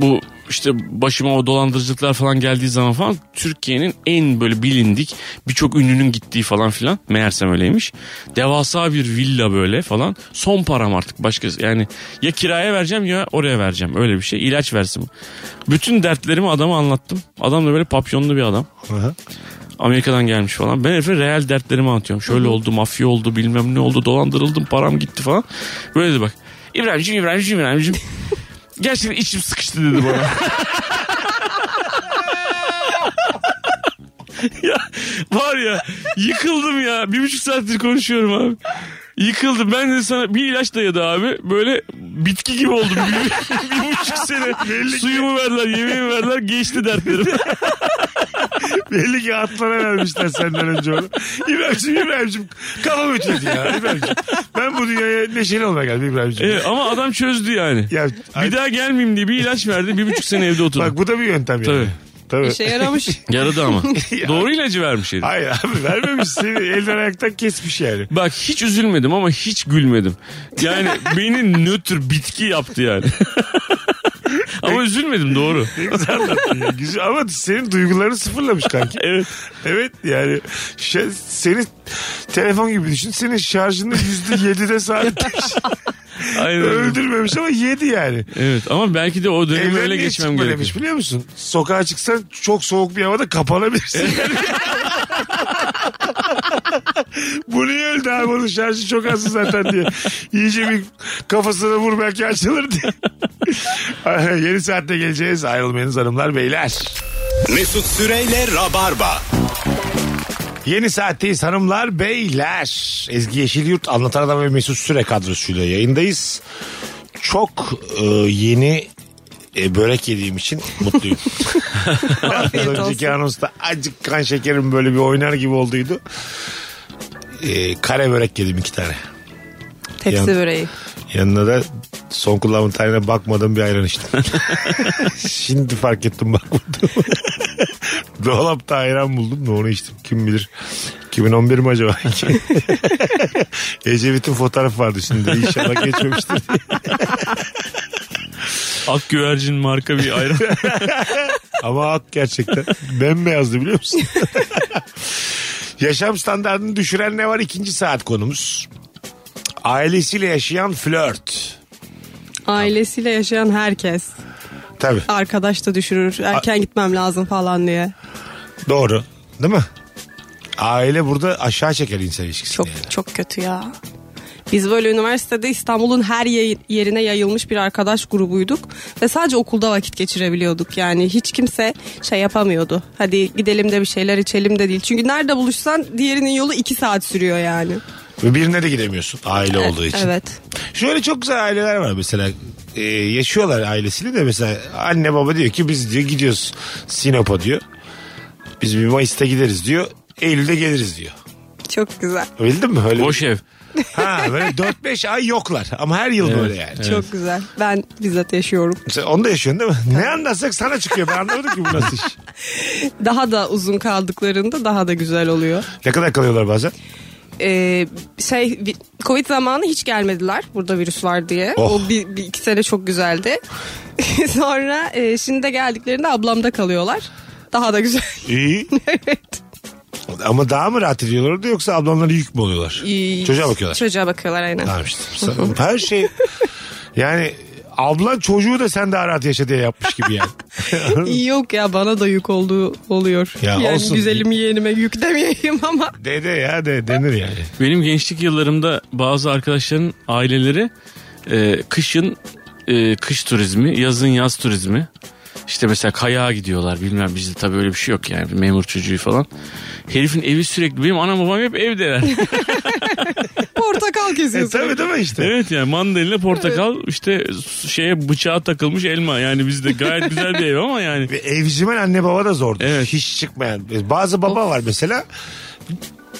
[SPEAKER 5] bu işte başıma o dolandırıcılıklar falan geldiği zaman falan Türkiye'nin en böyle bilindik birçok ünlünün gittiği falan filan meğersem öyleymiş. Devasa bir villa böyle falan. Son param artık başka yani ya kiraya vereceğim ya oraya vereceğim öyle bir şey. ilaç versin. Bütün dertlerimi adama anlattım. Adam da böyle papyonlu bir adam.
[SPEAKER 3] Aha.
[SPEAKER 5] Amerika'dan gelmiş falan. Ben herife real dertlerimi anlatıyorum. Şöyle oldu, mafya oldu, bilmem ne oldu, dolandırıldım, param gitti falan. Böyle dedi bak. İbrahim'cim, İbrahim'cim, İbrahim'cim. Gerçekten içim sıkıştı dedi bana. ya var ya yıkıldım ya. Bir buçuk saattir konuşuyorum abi. Yıkıldım. Ben de sana bir ilaç dayadı abi. Böyle bitki gibi oldum. Bir, bir buçuk sene suyumu verdiler, yemeğimi verdiler. Geçti dertlerim.
[SPEAKER 3] Belli ki atlara vermişler senden önce onu. İbrahim'cim İbrahim'cim kafam ötüyordu ya İbrahim'cim. Ben bu dünyaya neşeli olmaya geldim İbrahim'cim.
[SPEAKER 5] Evet, ama adam çözdü yani.
[SPEAKER 3] Ya, ay-
[SPEAKER 5] E, bir daha gelmeyeyim diye bir ilaç verdi. Bir buçuk sene evde oturdu.
[SPEAKER 3] Bak bu da bir yöntem yani.
[SPEAKER 5] Tabii.
[SPEAKER 3] Tabii.
[SPEAKER 4] İşe yaramış.
[SPEAKER 5] Yaradı ama. Doğru ilacı vermiş herif.
[SPEAKER 3] Hayır abi vermemiş seni elden ayaktan kesmiş yani.
[SPEAKER 5] Bak hiç üzülmedim ama hiç gülmedim. Yani beni nötr bitki yaptı yani. ama üzülmedim doğru.
[SPEAKER 3] Ne güzel anlattın ya. Güzel ama senin duygularını sıfırlamış kanki.
[SPEAKER 5] Evet.
[SPEAKER 3] Evet yani şey, seni telefon gibi düşün. Senin şarjını yüzde yedide sabitlemiş.
[SPEAKER 5] Aynen.
[SPEAKER 3] Öldürmemiş ama yedi yani.
[SPEAKER 5] Evet ama belki de o dönemi
[SPEAKER 3] Evden
[SPEAKER 5] öyle
[SPEAKER 3] niye
[SPEAKER 5] geçmem
[SPEAKER 3] çıkma
[SPEAKER 5] gerekiyor.
[SPEAKER 3] demiş biliyor musun? Sokağa çıksan çok soğuk bir havada kapanabilirsin. Bu niye öldü abi onun şarjı çok az zaten diye. İyice bir kafasına vur belki açılır diye. Yeni saatte geleceğiz. Ayrılmayınız hanımlar beyler.
[SPEAKER 2] Mesut Süreyle Rabarba.
[SPEAKER 3] Yeni saatteyiz hanımlar beyler. Ezgi Yeşilyurt Anlatan Adam ve Mesut Süre kadrosuyla yayındayız. Çok e, yeni e, börek yediğim için mutluyum. Az önceki anonsta acık kan şekerim böyle bir oynar gibi olduydu. E, kare börek yedim iki tane.
[SPEAKER 4] Tepsi
[SPEAKER 3] Yan-
[SPEAKER 4] böreği.
[SPEAKER 3] Yanına da son kulağımın tarihine bakmadım bir ayran içtim. Şimdi fark ettim bakmadım. Dolapta ayran buldum da onu içtim. Kim bilir 2011 mi acaba? Ecevit'in fotoğrafı vardı şimdi. İnşallah geçmemiştir.
[SPEAKER 5] Ak güvercin marka bir ayran.
[SPEAKER 3] Ama at gerçekten. Bembeyazdı biliyor musun? Yaşam standartını düşüren ne var? İkinci saat konumuz. Ailesiyle yaşayan flört.
[SPEAKER 4] Ailesiyle yaşayan herkes.
[SPEAKER 3] Tabii
[SPEAKER 4] Arkadaş da düşürür. Erken gitmem lazım falan diye.
[SPEAKER 3] doğru. Değil mi? Aile burada aşağı çeker insan ilişkisini.
[SPEAKER 4] Çok
[SPEAKER 3] yani.
[SPEAKER 4] çok kötü ya. Biz böyle üniversitede İstanbul'un her ye- yerine yayılmış bir arkadaş grubuyduk ve sadece okulda vakit geçirebiliyorduk. Yani hiç kimse şey yapamıyordu. Hadi gidelim de bir şeyler içelim de değil. Çünkü nerede buluşsan diğerinin yolu iki saat sürüyor yani.
[SPEAKER 3] Ve birine de gidemiyorsun aile olduğu için.
[SPEAKER 4] Evet.
[SPEAKER 3] Şöyle çok güzel aileler var mesela. Ee, yaşıyorlar ailesiyle de mesela anne baba diyor ki biz diyor gidiyoruz Sinop'a diyor. Biz bir Mayıs'ta gideriz diyor. Eylül'de geliriz diyor.
[SPEAKER 4] Çok güzel.
[SPEAKER 3] Bildin mi? Öyle
[SPEAKER 5] Boş ev.
[SPEAKER 3] Ha böyle 4-5 ay yoklar ama her yıl böyle yani.
[SPEAKER 4] Çok güzel. Ben bizzat yaşıyorum.
[SPEAKER 3] Sen onu da yaşıyorsun değil mi? Ne anlatsak sana çıkıyor. Ben anlamadım ki bu nasıl iş.
[SPEAKER 4] Daha da uzun kaldıklarında daha da güzel oluyor.
[SPEAKER 3] Ne kadar kalıyorlar bazen?
[SPEAKER 4] Ee, şey vi- Covid zamanı hiç gelmediler burada virüs var diye.
[SPEAKER 3] Oh.
[SPEAKER 4] O bir, bir iki sene çok güzeldi. Sonra e, şimdi de geldiklerinde ablamda kalıyorlar. Daha da güzel.
[SPEAKER 3] İyi.
[SPEAKER 4] evet.
[SPEAKER 3] Ama daha mı rahat ediyorlar orada yoksa ablamlara yük mü oluyorlar? Çocuğa bakıyorlar.
[SPEAKER 4] Çocuğa bakıyorlar aynen.
[SPEAKER 3] Tamam işte. Her şey yani ablan çocuğu da sen daha rahat yaşa diye yapmış gibi yani.
[SPEAKER 4] Yok ya bana da yük olduğu oluyor.
[SPEAKER 3] Ya
[SPEAKER 4] yani
[SPEAKER 3] olsun.
[SPEAKER 4] güzelim yeğenime yük demeyeyim ama.
[SPEAKER 3] Dede ya de denir yani.
[SPEAKER 5] Benim gençlik yıllarımda bazı arkadaşların aileleri e, kışın e, kış turizmi, yazın yaz turizmi. İşte mesela kayağa gidiyorlar bilmem bizde tabii öyle bir şey yok yani bir memur çocuğu falan. Herifin evi sürekli benim anam babam hep evdeler.
[SPEAKER 4] Portakal
[SPEAKER 3] E
[SPEAKER 4] kesiyorsun.
[SPEAKER 3] tabii değil mi işte?
[SPEAKER 5] evet yani mandalina portakal işte şeye bıçağa takılmış elma yani bizde gayet güzel bir ev ama yani.
[SPEAKER 3] Ve Evcimen anne baba da zordu.
[SPEAKER 5] Evet.
[SPEAKER 3] Hiç çıkmayan. Bazı baba var mesela.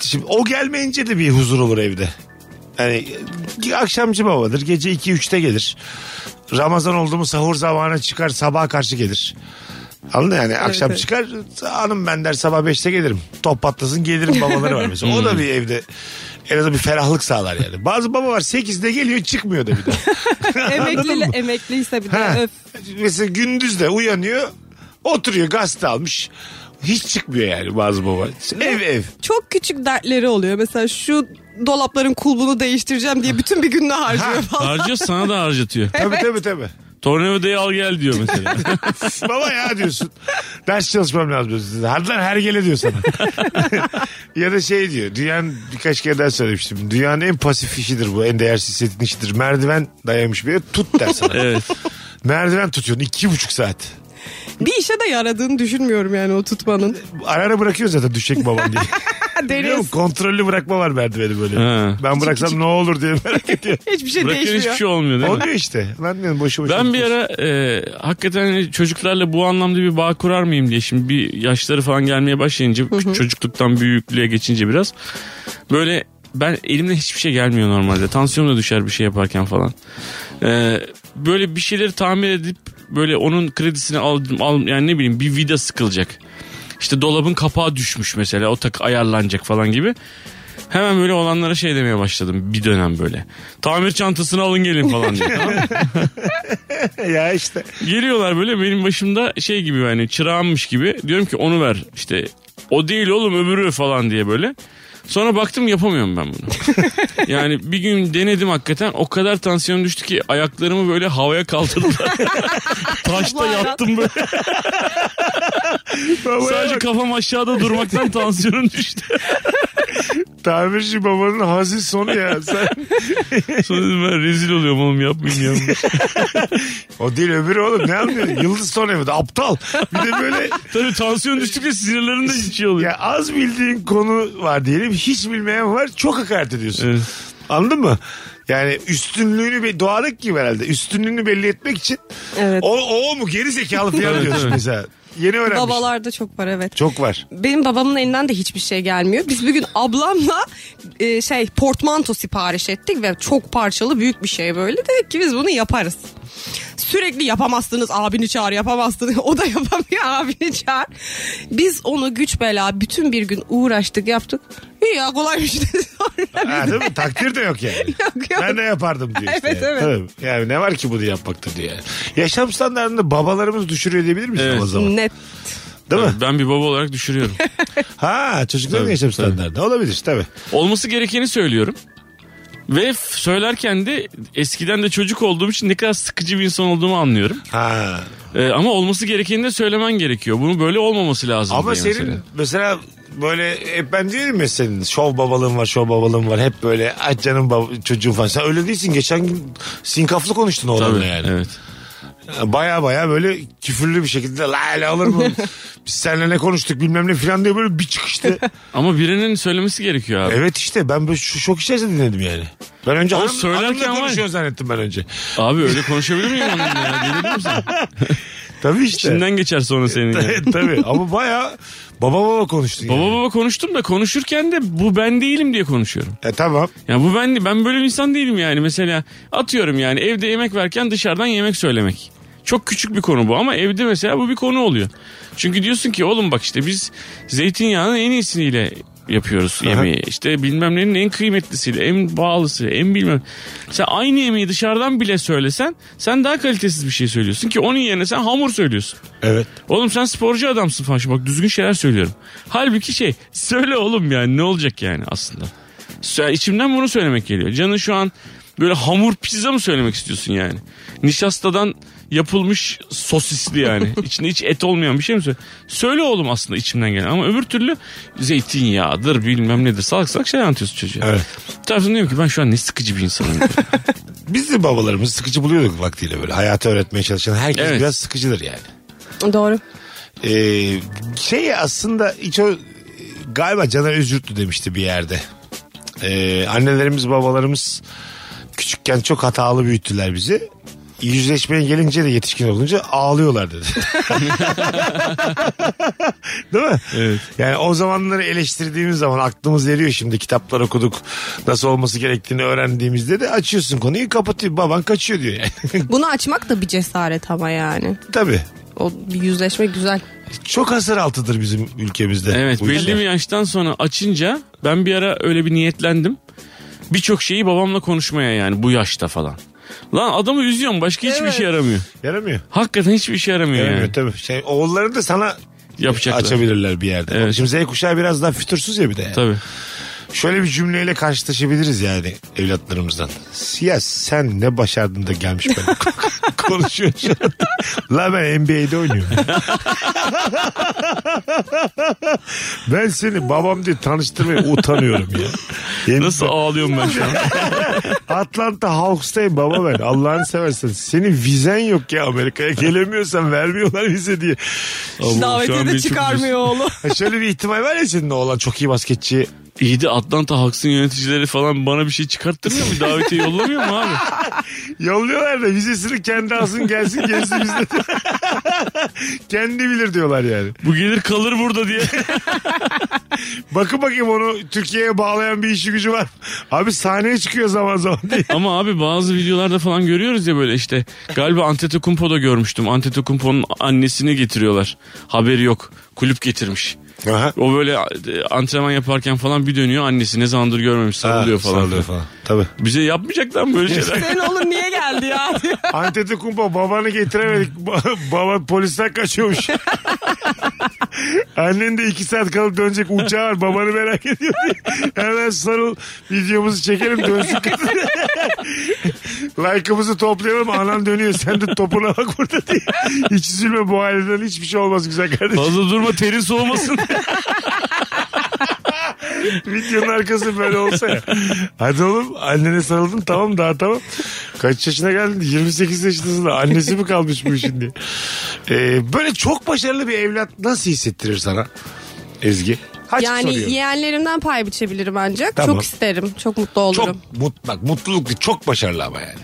[SPEAKER 3] Şimdi o gelmeyince de bir huzur olur evde. Yani akşamcı babadır. Gece 2-3'te gelir. Ramazan oldu mu sahur zamanı çıkar sabaha karşı gelir. Anladın mı? yani akşam
[SPEAKER 4] evet.
[SPEAKER 3] çıkar hanım ben der sabah 5'te gelirim. Top patlasın gelirim babaları var mesela. o
[SPEAKER 4] Hmm.
[SPEAKER 3] da bir evde en azından bir ferahlık sağlar yani. Bazı baba var 8'de geliyor çıkmıyor da bir de.
[SPEAKER 4] Emekli, emekliyse bir de
[SPEAKER 3] Ha.
[SPEAKER 4] öf.
[SPEAKER 3] Mesela gündüz de uyanıyor oturuyor gazete almış. Hiç çıkmıyor yani bazı baba. Ev ev.
[SPEAKER 4] Çok küçük dertleri oluyor. Mesela şu dolapların kulbunu değiştireceğim diye bütün bir gününü harcıyor falan.
[SPEAKER 5] Harcıyor sana da harcatıyor.
[SPEAKER 3] Tabii tabii tabii.
[SPEAKER 5] Tornavidayı al gel diyor mesela.
[SPEAKER 3] Baba ya diyorsun. Ders çalışmam lazım. diyorsun. Hadi lan her gele diyor sana. ya da şey diyor. Dünyanın birkaç kere daha söylemiştim. Dünyanın en pasif işidir bu. En değersiz hissettiğin işidir. Merdiven dayamış bir yere tut der sana.
[SPEAKER 5] evet.
[SPEAKER 3] Merdiven tutuyorsun iki buçuk saat.
[SPEAKER 4] Bir işe de yaradığını düşünmüyorum yani o tutmanın.
[SPEAKER 3] Ara ara bırakıyor zaten düşecek babam diye. Biliyor
[SPEAKER 4] Deniz
[SPEAKER 3] musun? Kontrollü bırakma var merdiveni böyle.
[SPEAKER 5] Ha.
[SPEAKER 3] Ben bıraksam ne olur diye merak ediyor.
[SPEAKER 4] hiçbir şey
[SPEAKER 5] Bırakıyor hiçbir
[SPEAKER 4] değişmiyor.
[SPEAKER 5] şey olmuyor değil mi?
[SPEAKER 3] Oluyor işte. Lan diyorum boşu boşu.
[SPEAKER 5] Ben bir ara e, hakikaten hani çocuklarla bu anlamda bir bağ kurar mıyım diye şimdi bir yaşları falan gelmeye başlayınca çocukluktan büyüklüğe geçince biraz böyle ben elimden hiçbir şey gelmiyor normalde. Tansiyonum da düşer bir şey yaparken falan. E, böyle bir şeyleri tamir edip böyle onun kredisini aldım al yani ne bileyim bir vida sıkılacak. İşte dolabın kapağı düşmüş mesela o tak ayarlanacak falan gibi. Hemen böyle olanlara şey demeye başladım bir dönem böyle. Tamir çantasını alın gelin falan diye. tamam mı?
[SPEAKER 3] ya işte.
[SPEAKER 5] Geliyorlar böyle benim başımda şey gibi yani çırağımmış gibi. Diyorum ki onu ver işte o değil oğlum öbürü falan diye böyle. Sonra baktım yapamıyorum ben bunu. yani bir gün denedim hakikaten. O kadar tansiyon düştü ki ayaklarımı böyle havaya kaldırdılar. Taşta yattım böyle. Sadece kafam aşağıda durmaktan tansiyonum düştü.
[SPEAKER 3] Tamirci babanın hazin sonu ya. Sen...
[SPEAKER 5] Sonra dedim ben rezil oluyorum oğlum yapmayayım ya.
[SPEAKER 3] o değil öbürü oğlum ne anlıyorsun? Yıldız son evde aptal. Bir de böyle
[SPEAKER 5] Tabii tansiyon düştükçe sinirlerim de şey oluyor.
[SPEAKER 3] ya az bildiğin konu var diyelim. Hiç bilmeyen var. Çok hakaret ediyorsun.
[SPEAKER 5] Evet.
[SPEAKER 3] Anladın mı? Yani üstünlüğünü be- doğadık gibi herhalde. Üstünlüğünü belli etmek için.
[SPEAKER 4] Evet.
[SPEAKER 3] O, o mu geri zekalı falan
[SPEAKER 5] Evet,
[SPEAKER 3] diyorsun
[SPEAKER 5] evet.
[SPEAKER 3] mesela. Yeni öğrenmiş.
[SPEAKER 4] Babalarda çok var evet.
[SPEAKER 3] Çok var.
[SPEAKER 4] Benim babamın elinden de hiçbir şey gelmiyor. Biz bir gün ablamla e, şey portmanto sipariş ettik ve çok parçalı büyük bir şey böyle. Dedik ki biz bunu yaparız. Sürekli yapamazsınız abini çağır yapamazsınız. O da yapamıyor abini çağır. Biz onu güç bela bütün bir gün uğraştık yaptık. İyi ya kolaymış dedi sonra.
[SPEAKER 3] Ha, değil mi? Takdir de yok yani.
[SPEAKER 4] Yok, yok.
[SPEAKER 3] Ben de yapardım diyor işte.
[SPEAKER 4] Evet, evet.
[SPEAKER 3] Tabii. Yani ne var ki bunu yapmakta diye. Yaşam standartını babalarımız düşürüyor diyebilir miyiz
[SPEAKER 5] Evet.
[SPEAKER 3] o zaman?
[SPEAKER 4] Net.
[SPEAKER 3] Değil mi?
[SPEAKER 5] Ben bir baba olarak düşürüyorum.
[SPEAKER 3] Ha çocukların
[SPEAKER 5] Tabii,
[SPEAKER 3] yaşam
[SPEAKER 5] tabii.
[SPEAKER 3] standartı. Olabilir tabii.
[SPEAKER 5] Olması gerekeni söylüyorum. Ve f- söylerken de eskiden de çocuk olduğum için ne kadar sıkıcı bir insan olduğumu anlıyorum.
[SPEAKER 3] Ha.
[SPEAKER 5] Ee, ama olması gerekeni de söylemen gerekiyor. Bunun böyle olmaması lazım.
[SPEAKER 3] Ama
[SPEAKER 5] diye
[SPEAKER 3] senin
[SPEAKER 5] mesela.
[SPEAKER 3] mesela. böyle hep ben diyelim ya senin şov babalığın var şov babalığın var hep böyle aç canım bab- çocuğun falan. Sen öyle değilsin geçen gün sinkaflı konuştun oğlanla
[SPEAKER 5] Tabii,
[SPEAKER 3] yani.
[SPEAKER 5] Evet.
[SPEAKER 3] Baya baya böyle küfürlü bir şekilde la la olur mu? Biz seninle ne konuştuk bilmem ne falan diye böyle bir çıkıştı.
[SPEAKER 5] Ama birinin söylemesi gerekiyor abi.
[SPEAKER 3] evet işte ben böyle şu şok içerisinde dinledim yani. Ben önce
[SPEAKER 5] O
[SPEAKER 3] hanım,
[SPEAKER 5] söylerken
[SPEAKER 3] hanımla
[SPEAKER 5] var ya.
[SPEAKER 3] konuşuyor zannettim ben önce.
[SPEAKER 5] Abi öyle konuşabilir miyim onunla ya? Delirir misin?
[SPEAKER 3] Tabii işte.
[SPEAKER 5] İçinden geçer sonra senin. yani.
[SPEAKER 3] Tabii ama baya baba baba konuştun yani.
[SPEAKER 5] Baba baba konuştum da konuşurken de bu ben değilim diye konuşuyorum.
[SPEAKER 3] E, tamam.
[SPEAKER 5] Ya bu ben ben böyle bir insan değilim yani. Mesela atıyorum yani evde yemek verken dışarıdan yemek söylemek. Çok küçük bir konu bu ama evde mesela bu bir konu oluyor. Çünkü diyorsun ki oğlum bak işte biz zeytinyağının en iyisiniyle yapıyoruz yemeği. İşte bilmem nenin en kıymetlisiyle, en pahalısı, en bilmem. Sen aynı yemeği dışarıdan bile söylesen sen daha kalitesiz bir şey söylüyorsun ki onun yerine sen hamur söylüyorsun.
[SPEAKER 3] Evet.
[SPEAKER 5] Oğlum sen sporcu adamsın falan. Şimdi Bak düzgün şeyler söylüyorum. Halbuki şey söyle oğlum yani ne olacak yani aslında. Sö- İçimden bunu söylemek geliyor. Canın şu an böyle hamur pizza mı söylemek istiyorsun yani? Nişastadan yapılmış sosisli yani. İçinde hiç et olmayan bir şey mi söyle? Söyle oğlum aslında içimden gelen. Ama öbür türlü zeytinyağıdır bilmem nedir. Salak salak şey anlatıyorsun çocuğa.
[SPEAKER 3] Evet.
[SPEAKER 5] Bir taraftan diyorum ki ben şu an ne sıkıcı bir insanım.
[SPEAKER 3] Biz de babalarımızı sıkıcı buluyorduk vaktiyle böyle. Hayatı öğretmeye çalışan herkes
[SPEAKER 5] Evet.
[SPEAKER 3] biraz sıkıcıdır yani.
[SPEAKER 4] Doğru.
[SPEAKER 3] Ee, şey aslında hiç o galiba Caner Özürtlü demişti bir yerde. Ee, annelerimiz babalarımız küçükken çok hatalı büyüttüler bizi. Yüzleşmeye gelince de yetişkin olunca ağlıyorlar dedi. Değil mi?
[SPEAKER 5] Evet.
[SPEAKER 3] Yani o zamanları eleştirdiğimiz zaman aklımız eriyor şimdi kitaplar okuduk nasıl olması gerektiğini öğrendiğimizde de açıyorsun konuyu kapatıyor baban kaçıyor diyor yani.
[SPEAKER 4] Bunu açmak da bir cesaret ama yani.
[SPEAKER 3] Tabii.
[SPEAKER 4] O bir yüzleşme güzel.
[SPEAKER 3] Çok hasar altıdır bizim ülkemizde.
[SPEAKER 5] Evet
[SPEAKER 3] bu
[SPEAKER 5] belli
[SPEAKER 3] işler.
[SPEAKER 5] bir yaştan sonra açınca ben bir ara öyle bir niyetlendim. Birçok şeyi babamla konuşmaya yani bu yaşta falan. Lan adamı üzüyorum başka hiçbir
[SPEAKER 4] Evet.
[SPEAKER 5] şey yaramıyor.
[SPEAKER 3] Yaramıyor.
[SPEAKER 5] Hakikaten hiçbir işe yaramıyor
[SPEAKER 3] Yaramıyor
[SPEAKER 5] yani.
[SPEAKER 3] tabii. Şey, oğulları da sana
[SPEAKER 5] Yapacaklar.
[SPEAKER 3] açabilirler bir yerde.
[SPEAKER 5] Evet.
[SPEAKER 3] Şimdi Z kuşağı biraz daha fütursuz ya bir de. yani.
[SPEAKER 5] Tabii.
[SPEAKER 3] Şöyle bir cümleyle karşılaşabiliriz yani evlatlarımızdan. Ya sen ne başardın da gelmiş böyle konuşuyor şu anda. La ben NBA'de oynuyorum. ben seni babam diye tanıştırmaya utanıyorum ya. Yemin-
[SPEAKER 5] Nasıl ağlıyorum ben şu an?
[SPEAKER 3] Atlanta Hawks'tayım baba ben. Allah'ını seversen. Senin vizen yok ya Amerika'ya. Gelemiyorsan vermiyorlar vize diye.
[SPEAKER 5] şu an
[SPEAKER 4] Davetiye
[SPEAKER 5] beni
[SPEAKER 4] de
[SPEAKER 5] çok
[SPEAKER 4] çıkarmıyor oğlu.
[SPEAKER 3] Ha, Şöyle bir ihtimal var ya senin oğlan çok iyi basketçi.
[SPEAKER 5] İyi de Atlanta Hawks'ın yöneticileri falan bana bir şey çıkarttırmıyor mu? Davetiye yollamıyor mu abi?
[SPEAKER 3] Yolluyorlar da vizesini kendi alsın gelsin gelsin bizde. kendi bilir diyorlar yani.
[SPEAKER 5] Bu gelir kalır burada diye.
[SPEAKER 3] Bakın bakayım onu Türkiye'ye bağlayan bir işi gücü var. Abi sahneye çıkıyor zaman zaman diye.
[SPEAKER 5] Ama abi bazı videolarda falan görüyoruz ya böyle işte galiba Antetokounmpo'da görmüştüm. Antetokounmpo'nun annesini getiriyorlar. Haberi yok. Kulüp getirmiş.
[SPEAKER 3] Aha.
[SPEAKER 5] O böyle e, antrenman yaparken falan bir dönüyor annesi ne zamandır görmemiş sarılıyor falan.
[SPEAKER 3] Sallıyor falan. Tabii.
[SPEAKER 5] Bize yapmayacaklar mı böyle şeyler?
[SPEAKER 4] Senin oğlun niye geldi ya?
[SPEAKER 3] Antetokounmpo babanı getiremedik. Ba- Baba polisten kaçıyormuş. Annen de iki saat kalıp dönecek uçağı var. Babanı merak ediyor diye. Hemen sarıl videomuzu çekelim dönsün kadın. Like'ımızı toplayalım. Anan dönüyor. Sen de topuna bak burada diye. Hiç üzülme bu aileden hiçbir şey olmaz güzel kardeşim.
[SPEAKER 5] Fazla durma terin soğumasın.
[SPEAKER 3] Videonun arkası böyle olsa ya. Hadi oğlum annene sarıldın tamam daha tamam. Kaç yaşına geldin? 28 yaşındasın. da Annesi mi kalmış bu işin diye. Ee, böyle çok başarılı bir evlat nasıl hissettirir sana Ezgi? Haç
[SPEAKER 4] yani
[SPEAKER 3] soruyor.
[SPEAKER 4] yeğenlerimden pay biçebilirim ancak.
[SPEAKER 3] Tamam.
[SPEAKER 4] Çok isterim. Çok mutlu olurum.
[SPEAKER 3] çok mut, bak, mutluluk değil, çok başarılı ama yani.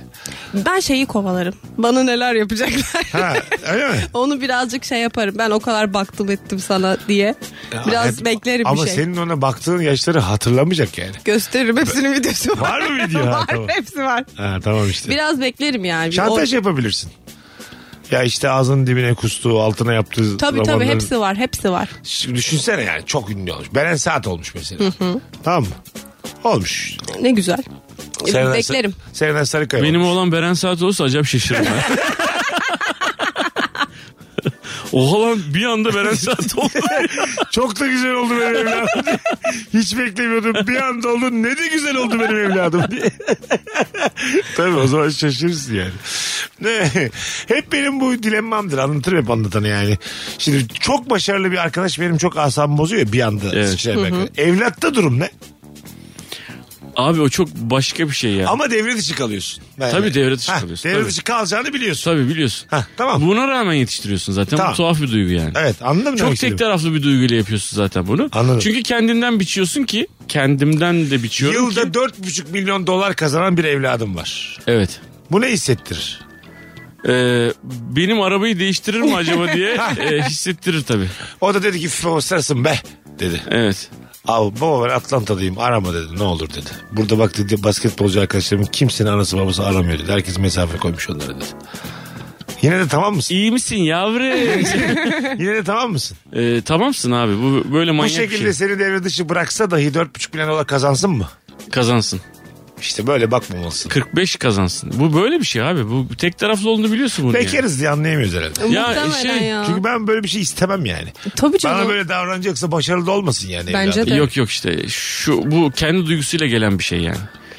[SPEAKER 4] Ben şeyi kovalarım. Bana neler yapacaklar.
[SPEAKER 3] Ha, öyle mi?
[SPEAKER 4] Onu birazcık şey yaparım. Ben o kadar baktım ettim sana diye. Biraz
[SPEAKER 3] Hep-
[SPEAKER 4] beklerim
[SPEAKER 3] e, Ama
[SPEAKER 4] bir şey.
[SPEAKER 3] senin ona baktığın yaşları hatırlamayacak yani.
[SPEAKER 4] Gösteririm hepsinin videosu var.
[SPEAKER 3] Var mı video? Ha,
[SPEAKER 4] var
[SPEAKER 3] tamam.
[SPEAKER 4] hepsi var.
[SPEAKER 3] Ha, tamam işte.
[SPEAKER 4] Biraz beklerim yani. Bir
[SPEAKER 3] Şantaj yapabilirsin. Ya işte ağzının dibine kustuğu, altına yaptığı
[SPEAKER 4] o- Tabii tabii
[SPEAKER 3] romanların-
[SPEAKER 4] hepsi var hepsi var.
[SPEAKER 3] Şimdi düşünsene yani çok ünlü olmuş. Beren Saat olmuş mesela. Tamam mı? Olmuş.
[SPEAKER 4] Ne güzel.
[SPEAKER 3] Serenay-
[SPEAKER 4] E, beklerim.
[SPEAKER 3] Serenay Sarıkaya
[SPEAKER 5] Benim
[SPEAKER 3] olmuş.
[SPEAKER 5] oğlan Beren Saat olsa acayip şaşırırım ben. Oha lan bir anda Beren Saat oldu.
[SPEAKER 3] Çok da güzel oldu benim evladım. diye. Hiç beklemiyordum. Bir anda oldu. Ne de güzel oldu benim evladım diye. Tabii o zaman şaşırırsın yani. Ne? Hep benim bu dilemmamdır. Anlatırım hep anlatanı yani. Şimdi çok başarılı bir arkadaş benim çok asabımı bozuyor ya bir anda.
[SPEAKER 5] Evet.
[SPEAKER 3] sıçrayarak. Evlatta durum ne?
[SPEAKER 5] Abi o çok başka bir şey ya.
[SPEAKER 3] Ama devre dışı kalıyorsun. Yani.
[SPEAKER 5] Tabii devre dışı
[SPEAKER 3] Ha,
[SPEAKER 5] kalıyorsun,
[SPEAKER 3] Devre
[SPEAKER 5] tabii.
[SPEAKER 3] dışı kalacağını biliyorsun.
[SPEAKER 5] Tabii biliyorsun.
[SPEAKER 3] Ha, tamam.
[SPEAKER 5] Buna rağmen yetiştiriyorsun zaten.
[SPEAKER 3] Tamam.
[SPEAKER 5] Bu tuhaf bir duygu yani.
[SPEAKER 3] Evet anladın mı?
[SPEAKER 5] Çok
[SPEAKER 3] demek
[SPEAKER 5] tek
[SPEAKER 3] istediğimi?
[SPEAKER 5] taraflı bir duyguyla yapıyorsun zaten bunu.
[SPEAKER 3] Anladım.
[SPEAKER 5] Çünkü kendinden biçiyorsun ki kendimden de biçiyorum
[SPEAKER 3] Yılda
[SPEAKER 5] ki.
[SPEAKER 3] 4,5 milyon dolar kazanan bir evladım var.
[SPEAKER 5] Evet.
[SPEAKER 3] Bu ne hissettirir?
[SPEAKER 5] Ee, benim arabayı değiştirir mi acaba diye e, hissettirir tabii.
[SPEAKER 3] O da dedi ki "Üf, o sarısın be dedi.
[SPEAKER 5] Evet.
[SPEAKER 3] Abi baba ben Atlanta'dayım arama dedi ne olur dedi. Burada bak dedi basketbolcu arkadaşlarımın kimsenin anası babası aramıyor dedi. Herkes mesafe koymuş onlara dedi. Yine de tamam mısın?
[SPEAKER 5] İyi misin yavrum?
[SPEAKER 3] Yine de tamam mısın?
[SPEAKER 5] Ee, tamamsın abi. Bu böyle
[SPEAKER 3] Bu
[SPEAKER 5] manyak bir
[SPEAKER 3] şekilde
[SPEAKER 5] şey.
[SPEAKER 3] seni devre dışı bıraksa dahi 4,5 milyon dolar kazansın mı?
[SPEAKER 5] Kazansın.
[SPEAKER 3] İşte böyle bakmamalısın.
[SPEAKER 5] 45 kazansın. Bu böyle bir şey abi. Bu tek taraflı olduğunu biliyorsun bunu. yani.
[SPEAKER 3] Bekeriz diye anlayamıyoruz herhalde.
[SPEAKER 5] Ya,
[SPEAKER 4] Muhtemelen
[SPEAKER 5] şey,
[SPEAKER 4] ya.
[SPEAKER 3] Çünkü ben böyle bir şey istemem yani.
[SPEAKER 4] Tabii canım.
[SPEAKER 3] Bana böyle davranacaksa başarılı da olmasın yani.
[SPEAKER 4] Bence
[SPEAKER 3] evladım.
[SPEAKER 4] de.
[SPEAKER 5] Yok yok işte şu bu kendi duygusuyla gelen bir şey yani.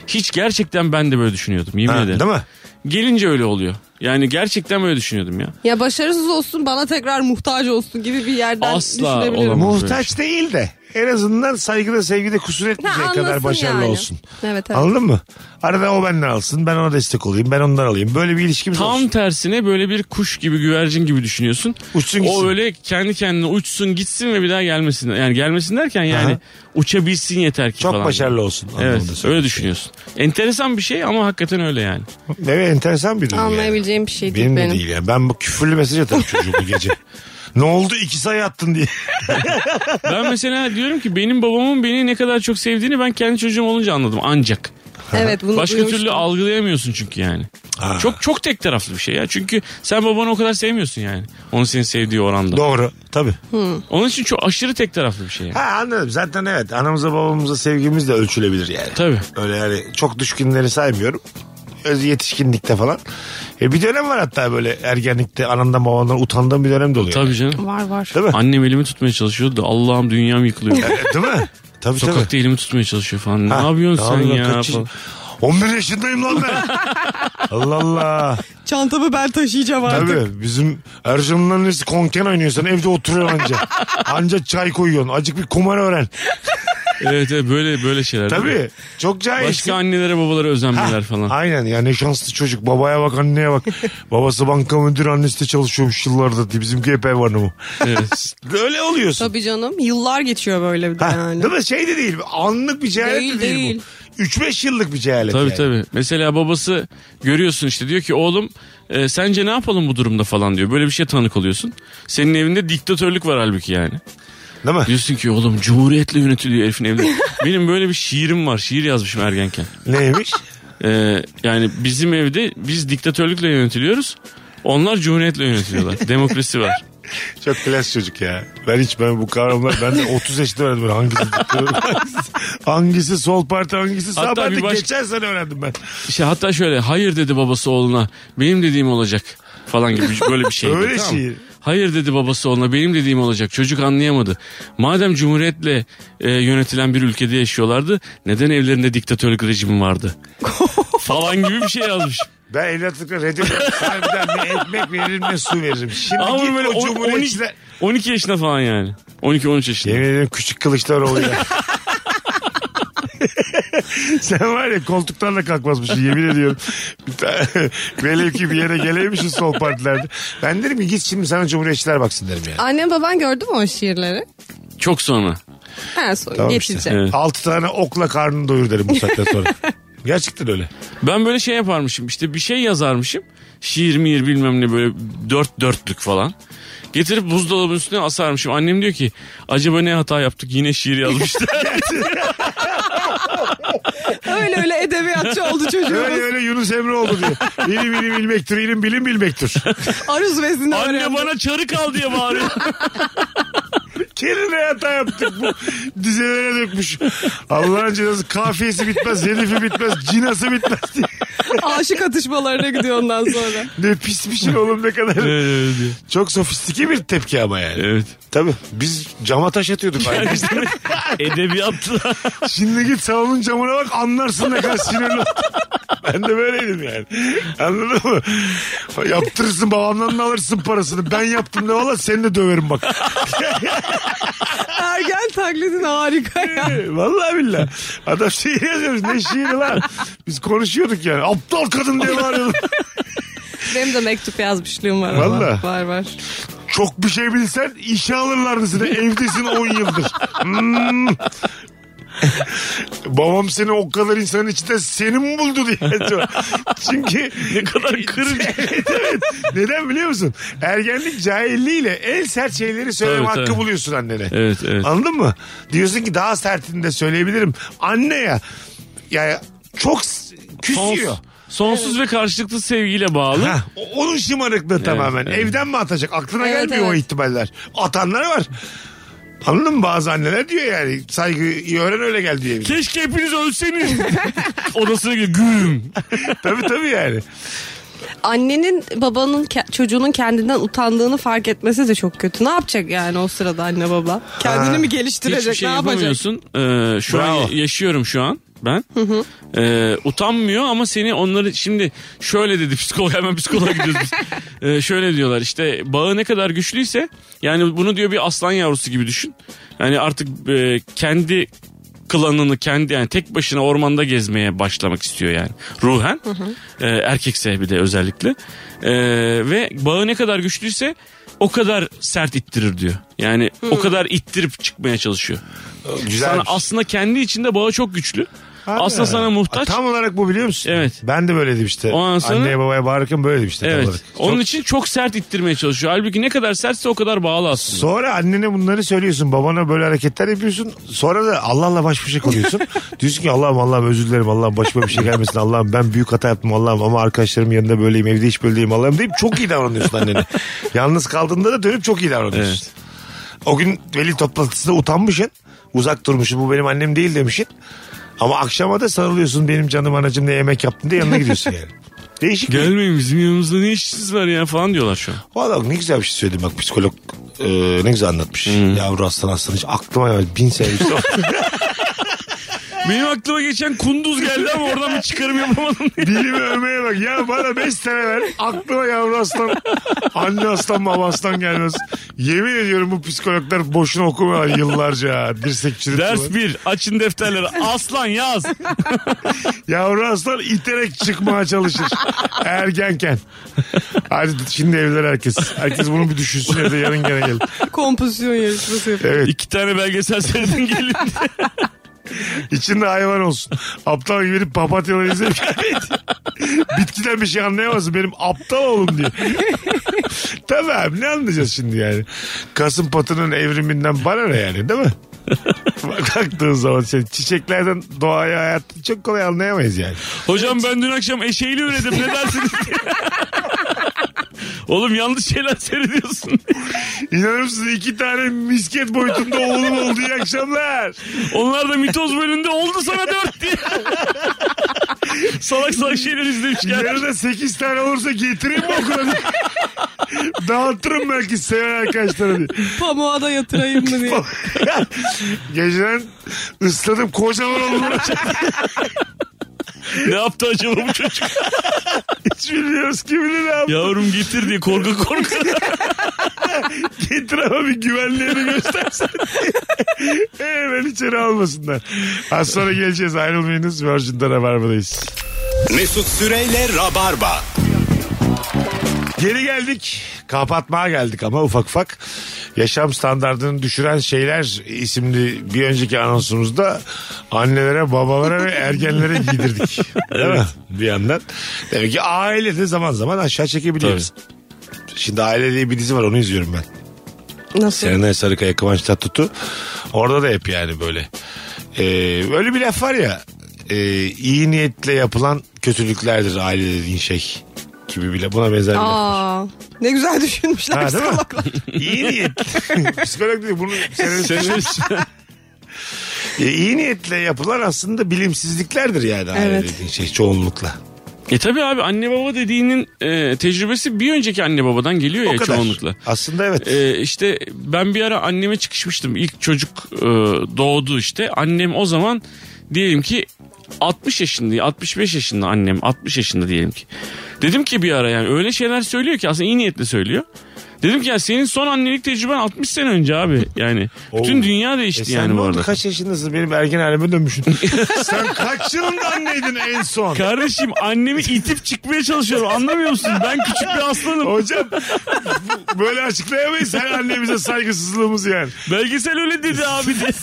[SPEAKER 5] Hiç gerçekten ben de böyle düşünüyordum yemin
[SPEAKER 3] Ha,
[SPEAKER 5] ederim.
[SPEAKER 3] değil mi?
[SPEAKER 5] Gelince öyle oluyor. Yani gerçekten böyle düşünüyordum ya.
[SPEAKER 4] Ya başarısız olsun bana tekrar muhtaç olsun gibi bir yerden
[SPEAKER 5] Asla
[SPEAKER 4] düşünebilirim.
[SPEAKER 5] olamaz.
[SPEAKER 3] Muhtaç
[SPEAKER 5] şey.
[SPEAKER 3] değil de en azından saygıda sevgide kusur etmeyecek
[SPEAKER 4] Ha,
[SPEAKER 3] kadar
[SPEAKER 4] anlasın
[SPEAKER 3] başarılı
[SPEAKER 4] yani.
[SPEAKER 3] olsun.
[SPEAKER 4] Evet, evet.
[SPEAKER 3] Anladın mı? Arada o benden alsın ben ona destek olayım ben ondan alayım. Böyle bir ilişkimiz
[SPEAKER 5] Tam
[SPEAKER 3] olsun.
[SPEAKER 5] tersine böyle bir kuş gibi güvercin gibi düşünüyorsun.
[SPEAKER 3] Uçsun
[SPEAKER 5] O
[SPEAKER 3] gitsin.
[SPEAKER 5] öyle kendi kendine uçsun gitsin ve bir daha gelmesin. Yani gelmesin derken yani
[SPEAKER 3] Aha.
[SPEAKER 5] uçabilsin yeter ki
[SPEAKER 3] Çok
[SPEAKER 5] falan.
[SPEAKER 3] başarılı olsun. anlamında şey.
[SPEAKER 5] Evet
[SPEAKER 3] söylüyorum.
[SPEAKER 5] öyle düşünüyorsun. Enteresan bir şey ama hakikaten öyle yani.
[SPEAKER 3] Evet enteresan bir durum yani.
[SPEAKER 4] Anlayabileceğim bir şey değil
[SPEAKER 3] Benim,
[SPEAKER 4] benim.
[SPEAKER 3] de değil yani. Ben bu küfürlü mesaj atarım çocuğu bu gece. Ne oldu iki sayı attın diye.
[SPEAKER 5] Ben mesela diyorum ki benim babamın beni ne kadar çok sevdiğini ben kendi çocuğum olunca anladım ancak.
[SPEAKER 4] Evet bunu
[SPEAKER 5] Başka
[SPEAKER 4] duymuştum.
[SPEAKER 5] türlü algılayamıyorsun çünkü yani.
[SPEAKER 3] Ha.
[SPEAKER 5] Çok çok tek taraflı bir şey ya. Çünkü sen babanı o kadar sevmiyorsun yani. Onun seni sevdiği oranda.
[SPEAKER 3] Doğru tabii.
[SPEAKER 5] Onun için çok aşırı tek taraflı bir şey yani.
[SPEAKER 3] Ha anladım. Zaten evet anamıza babamıza sevgimiz de ölçülebilir yani.
[SPEAKER 5] Tabii.
[SPEAKER 3] Öyle yani çok düşkünleri saymıyorum. Öz yetişkinlikte falan. E bir dönem var hatta böyle ergenlikte anamdan babamdan utandığım bir dönem de oluyor.
[SPEAKER 5] Tabii canım.
[SPEAKER 4] Var var.
[SPEAKER 3] Değil mi?
[SPEAKER 5] Annem elimi tutmaya çalışıyordu da Allah'ım dünyam yıkılıyor.
[SPEAKER 3] E, Değil mi? Tabii tabii.
[SPEAKER 5] Sokakta elimi tutmaya çalışıyor falan. Ne
[SPEAKER 3] Ha,
[SPEAKER 5] yapıyorsun sen
[SPEAKER 3] yapıyorsun?
[SPEAKER 5] ya?
[SPEAKER 3] Kaç
[SPEAKER 5] falan.
[SPEAKER 3] yaş- 11 yaşındayım lan ben. Allah Allah.
[SPEAKER 4] Çantamı ben taşıyacağım artık.
[SPEAKER 3] Tabii bizim Ercan'ın annesi konken oynuyorsan evde oturuyorsun anca. Anca çay koyuyorsun. Acık bir kumar öğren.
[SPEAKER 5] Evet, evet böyle böyle şeyler. değil mi?
[SPEAKER 3] Tabii. Çok cahil.
[SPEAKER 5] Başka annelere babalara özenmeler falan.
[SPEAKER 3] Aynen ya ne şanslı çocuk. Babaya bak anneye bak. Babası banka müdürü annesi de çalışıyormuş yıllardır diye. Bizimki hep ev hanımı.
[SPEAKER 5] Evet.
[SPEAKER 3] Öyle oluyorsun.
[SPEAKER 4] Tabii canım yıllar geçiyor böyle bir de
[SPEAKER 3] Ha,
[SPEAKER 4] yani.
[SPEAKER 3] Değil mi? Şey de değil. Anlık bir cehalet de
[SPEAKER 4] Değil,
[SPEAKER 3] değil,
[SPEAKER 4] değil.
[SPEAKER 3] bu. 3-5 yıllık bir cehalet
[SPEAKER 5] Tabii
[SPEAKER 3] yani.
[SPEAKER 5] tabii. Mesela babası görüyorsun işte diyor ki oğlum e, sence ne yapalım bu durumda falan diyor. Böyle bir şey tanık oluyorsun. Senin evinde diktatörlük var halbuki yani.
[SPEAKER 3] Değil mi?
[SPEAKER 5] Diyorsun ki oğlum cumhuriyetle yönetiliyor herifin evde. Benim böyle bir şiirim var. Şiir yazmışım ergenken.
[SPEAKER 3] Neymiş?
[SPEAKER 5] Ee, yani bizim evde biz diktatörlükle yönetiliyoruz. Onlar cumhuriyetle yönetiliyorlar. Demokrasi var.
[SPEAKER 3] Çok klas çocuk ya. Ben hiç ben bu kavramlar ben de 30 yaşında öğrendim. Ben hangisi, hangisi, hangisi sol parti hangisi sağ
[SPEAKER 5] Hatta
[SPEAKER 3] parti.
[SPEAKER 5] bir baş-
[SPEAKER 3] Geçen sene öğrendim ben.
[SPEAKER 5] İşte hatta şöyle hayır dedi babası oğluna. Benim dediğim olacak falan gibi böyle bir şey.
[SPEAKER 3] Öyle
[SPEAKER 5] Tamam mı?
[SPEAKER 3] şiir.
[SPEAKER 5] Hayır dedi babası ona benim dediğim olacak. Çocuk anlayamadı. Madem cumhuriyetle e, yönetilen bir ülkede yaşıyorlardı neden evlerinde diktatörlük rejimi vardı? Falan gibi bir şey yazmış.
[SPEAKER 3] Ben evlatlıkla reddediyorum. Harbiden ne ekmek veririm ne su veririm. Şimdi
[SPEAKER 5] Ama
[SPEAKER 3] git
[SPEAKER 5] bunu böyle
[SPEAKER 3] o
[SPEAKER 5] on-
[SPEAKER 3] cumhuriyetçiler.
[SPEAKER 5] 12 yaşında falan yani. 12-13 yaşında.
[SPEAKER 3] Yemin ederim küçük Kılıçdaroğlu ya. Sen var ya koltuklarla kalkmazmışsın yemin ediyorum. Bir tane- Velev ki bir yere geleymişsin sol partilerde. Ben derim ki git şimdi sana cumhuriyetçiler baksın derim yani.
[SPEAKER 4] Annem baban gördü mü o şiirleri?
[SPEAKER 5] Çok sonra.
[SPEAKER 4] Ha, sonra
[SPEAKER 3] Tamam işte.
[SPEAKER 4] getireceğim.
[SPEAKER 5] Evet.
[SPEAKER 3] Altı tane okla karnını doyur derim bu saatten sonra. Gerçekten öyle.
[SPEAKER 5] Ben böyle şey yaparmışım işte bir şey yazarmışım. Şiir miyir bilmem ne böyle dört dörtlük falan. Getirip buzdolabının üstüne asarmışım. Annem diyor ki acaba ne hata yaptık yine şiir yazmışlar.
[SPEAKER 4] Öyle öyle edebiyatçı oldu
[SPEAKER 3] Öyle
[SPEAKER 4] çocuğumuz.
[SPEAKER 3] öyle Yunus Emre oldu diyor. İlim ilim bilmektir, ilim bilim bilmektir.
[SPEAKER 4] Aruz vezini
[SPEAKER 5] Anne
[SPEAKER 4] öğrendi.
[SPEAKER 5] bana çarık al diye bağırıyor.
[SPEAKER 3] Kendine hata yaptık bu. Dizelere dökmüş. Allah'ın cezası kafiyesi bitmez, zelifi bitmez, cinası bitmez diye.
[SPEAKER 4] Aşık atışmalarına gidiyor ondan sonra.
[SPEAKER 3] Ne pis bir şey oğlum ne kadar. Çok sofistike bir tepki ama yani.
[SPEAKER 5] evet.
[SPEAKER 3] Tabii biz cama taş atıyorduk. aynı biz.
[SPEAKER 5] Edebiyatla.
[SPEAKER 3] Şimdi git salonun camına bak anlarsın ne kadar sinirli. oldum. ben de böyleydim yani. Anladın mı? Yaptırırsın babamdan da alırsın parasını. Ben yaptım ne valla seni de döverim bak.
[SPEAKER 4] Ergen taklidin harika ya.
[SPEAKER 3] Vallahi billahi. Adam şiir yazıyormuş. Ne şiiri lan? Biz konuşuyorduk yani. Aptal kadın diye bağırıyorduk.
[SPEAKER 4] Benim de mektup yazmışlığım var.
[SPEAKER 3] Valla.
[SPEAKER 4] Var var.
[SPEAKER 3] Çok bir şey bilsen işe alırlardı seni. Evdesin 10 yıldır. Hmm. Babam seni o kadar insanın içinde seni mi buldu diye. Çünkü ne kadar
[SPEAKER 5] kırıcı.
[SPEAKER 3] evet, evet. Neden biliyor musun? Ergenlik cahilliğiyle en sert şeyleri söyleme
[SPEAKER 5] Tabii,
[SPEAKER 3] hakkı
[SPEAKER 5] tabii.
[SPEAKER 3] buluyorsun annene.
[SPEAKER 5] Evet, evet.
[SPEAKER 3] Anladın mı? Diyorsun ki daha sertini de söyleyebilirim. Anne ya. Ya çok s- küsüyor.
[SPEAKER 5] Sons- sonsuz ve karşılıklı sevgiyle bağlı.
[SPEAKER 3] Hah, o- onun şımarıklığı tamamen.
[SPEAKER 5] evet.
[SPEAKER 3] Evden mi atacak? Aklına
[SPEAKER 4] Evet,
[SPEAKER 3] gelmiyor o
[SPEAKER 4] evet.
[SPEAKER 3] ihtimaller. Atanlar var. Anladın mı bazı anneler diyor yani saygıyı öğren öyle gel diye.
[SPEAKER 5] Keşke hepiniz ölseniz. Odasına gir güm.
[SPEAKER 3] tabii tabii yani.
[SPEAKER 4] Annenin babanın ke- çocuğunun kendinden utandığını fark etmesi de çok kötü. Ne yapacak yani o sırada anne baba? Kendini mi
[SPEAKER 5] Hiçbir
[SPEAKER 4] geliştirecek?
[SPEAKER 5] şey
[SPEAKER 4] ne yapacak?
[SPEAKER 5] yapamıyorsun. Ee, şu
[SPEAKER 3] Bravo.
[SPEAKER 5] an yaşıyorum şu an ben. Ee, utanmıyor ama seni onları şimdi şöyle dedi psikolog hemen psikoloğa gidiyoruz biz. Ee, şöyle diyorlar işte bağı ne kadar güçlüyse yani bunu diyor bir aslan yavrusu gibi düşün. Yani artık e, kendi klanını kendi yani tek başına ormanda gezmeye başlamak istiyor yani ruhen Ee, erkekse bir de özellikle Ee, ve bağı ne kadar güçlüyse o kadar sert ittirir diyor yani o kadar ittirip çıkmaya çalışıyor
[SPEAKER 3] Güzel.
[SPEAKER 5] sana aslında kendi içinde bağı çok güçlü aslında şey. sana muhtaç
[SPEAKER 3] Tam olarak bu biliyor musun?
[SPEAKER 5] Evet.
[SPEAKER 3] Ben de böyleydim işte.
[SPEAKER 5] O an sana-
[SPEAKER 3] Anneye babaya bağırırken böyleydim işte. tam
[SPEAKER 5] Evet.
[SPEAKER 3] olarak.
[SPEAKER 5] Onun için çok sert ittirmeye çalışıyor. Halbuki ne kadar sertse o kadar bağlı aslında.
[SPEAKER 3] Sonra annene bunları söylüyorsun. Babana böyle hareketler yapıyorsun. Sonra da Allah'la baş başa kalıyorsun. Diyorsun ki Allah'ım Allah'ım özür dilerim. Allah'ım başıma bir şey gelmesin. Allah'ım ben büyük hata yaptım. Allah'ım ama arkadaşlarım yanında böyleyim. Evde hiç böyleyim. Allah'ım deyip çok iyi davranıyorsun annene. Yalnız kaldığında da dönüp çok iyi davranıyorsun.
[SPEAKER 5] Evet.
[SPEAKER 3] O gün veli toplantısında utanmışsın. Uzak durmuşsun. Bu benim annem değil demişsin. Ama akşama da sarılıyorsun. Benim canım anacım ne yemek yaptın diye yanına gidiyorsun yani. Değişik. bir-
[SPEAKER 5] Gelmeyin bizim yanımızda ne işiniz var ya falan diyorlar şu an.
[SPEAKER 3] Valla ne güzel bir şey söyledin bak psikolog e, ne güzel anlatmış. Yavru aslan aslan hiç aklıma gelmez. Bin sene bir şey.
[SPEAKER 5] Benim aklıma geçen kunduz geldi ama oradan bir çıkarım yapamadım diye.
[SPEAKER 3] Dilimi övmeye bak. Ya bana beş sene ver. Aklıma yavru aslan. Anne aslan baba aslan gelmez. Yemin ediyorum bu psikologlar boşuna okumuyorlar yıllarca. Dirsek çürütüyorlar.
[SPEAKER 5] Ders bir açın defterleri aslan yaz.
[SPEAKER 3] Yavru aslan iterek çıkmaya çalışır. Ergenken. Hadi şimdi evler herkes. Herkes bunu bir düşünsün evde yarın gene gel.
[SPEAKER 4] Kompozisyon yarışması yapıyor.
[SPEAKER 3] Evet.
[SPEAKER 5] İki tane belgesel seyredin gelin.
[SPEAKER 3] İçinde hayvan olsun. Aptal gibi bir papatyaları izleyip bitkiden bir şey anlayamazsın. Benim aptal oğlum diye. Tabii abi ne anlayacağız şimdi yani? Kasım patının evriminden bana ne yani değil mi? Bak- Baktığın zaman şey, çiçeklerden doğaya hayat çok kolay anlayamayız yani.
[SPEAKER 5] Hocam ben dün akşam eşeğiyle üredim ne dersiniz? Oğlum yanlış şeyler seyrediyorsun.
[SPEAKER 3] İnanır mısın iki tane misket boyutunda oğlum oldu iyi akşamlar.
[SPEAKER 5] Onlar da mitoz bölümünde oldu sana dört diye. salak salak şeyler izlemiş gelmiş.
[SPEAKER 3] Yarına 8 tane olursa getireyim mi okula? diye. Dağıtırım belki seven arkadaşlara diye.
[SPEAKER 4] Pamuğa da yatırayım mı diye.
[SPEAKER 3] Geceden ısladım kocaman oldum.
[SPEAKER 5] ne yaptı acaba bu çocuk?
[SPEAKER 3] Hiç bilmiyoruz kim bilir ne yaptı.
[SPEAKER 5] Yavrum getir diye korku korku.
[SPEAKER 3] Getir ama bir güvenliğini göstersen. Hemen Ee, içeri almasınlar. Az sonra geleceğiz ayrılmayınız. Virgin'de Rabarba'dayız.
[SPEAKER 2] Mesut Süreyle Rabarba.
[SPEAKER 3] Geri geldik. Kapatmaya geldik ama ufak ufak. Yaşam standartını düşüren şeyler isimli bir önceki anonsumuzda annelere, babalara ve ergenlere giydirdik. Değil mi? Bir yandan. Demek ki aile de zaman zaman aşağı çekebiliyoruz. Şimdi aile diye bir dizi var onu izliyorum ben.
[SPEAKER 4] Nasıl?
[SPEAKER 3] Serenay Sarıkaya, Kıvanç Tatlıtuğ. Orada da hep yani böyle. Ee, öyle bir laf var ya. E, iyi niyetle yapılan kötülüklerdir aile dediğin şey gibi bile buna benzer bir laf.
[SPEAKER 4] Aa, ne güzel düşünmüşler
[SPEAKER 3] Ha, değil mi?
[SPEAKER 4] salaklar.
[SPEAKER 3] İyi niyet. Psikolog diyor bunu senarist. E, iyi niyetle yapılan aslında bilimsizliklerdir yani aile
[SPEAKER 4] Evet.
[SPEAKER 3] dediğin şey çoğunlukla.
[SPEAKER 5] E tabi abi anne baba dediğinin e, tecrübesi bir önceki anne babadan geliyor ya E, çoğunlukla.
[SPEAKER 3] Aslında evet.
[SPEAKER 5] E, işte ben bir ara anneme çıkışmıştım. İlk çocuk e, doğdu işte. Annem o zaman diyelim ki 60 yaşında, 65 yaşında annem 60 yaşında diyelim ki. Dedim ki bir ara yani öyle şeyler söylüyor ki aslında iyi niyetle söylüyor. Dedim ki ya senin son annelik tecrüben 60 sene önce abi yani. Bütün
[SPEAKER 3] Oo.
[SPEAKER 5] dünya
[SPEAKER 3] E
[SPEAKER 5] değişti
[SPEAKER 3] sen
[SPEAKER 5] yani
[SPEAKER 3] ne
[SPEAKER 5] bu
[SPEAKER 3] oldu?
[SPEAKER 5] arada.
[SPEAKER 3] Kaç yaşındasın? Benim ergen halime dönmüşsün. sen kaç yılında anneydin en son?
[SPEAKER 5] Kardeşim annemi itip çıkmaya çalışıyorum anlamıyor musun? Ben küçük bir aslanım.
[SPEAKER 3] Hocam bu- böyle açıklayamayız her annemize saygısızlığımız yani.
[SPEAKER 5] Belgesel öyle dedi abi de.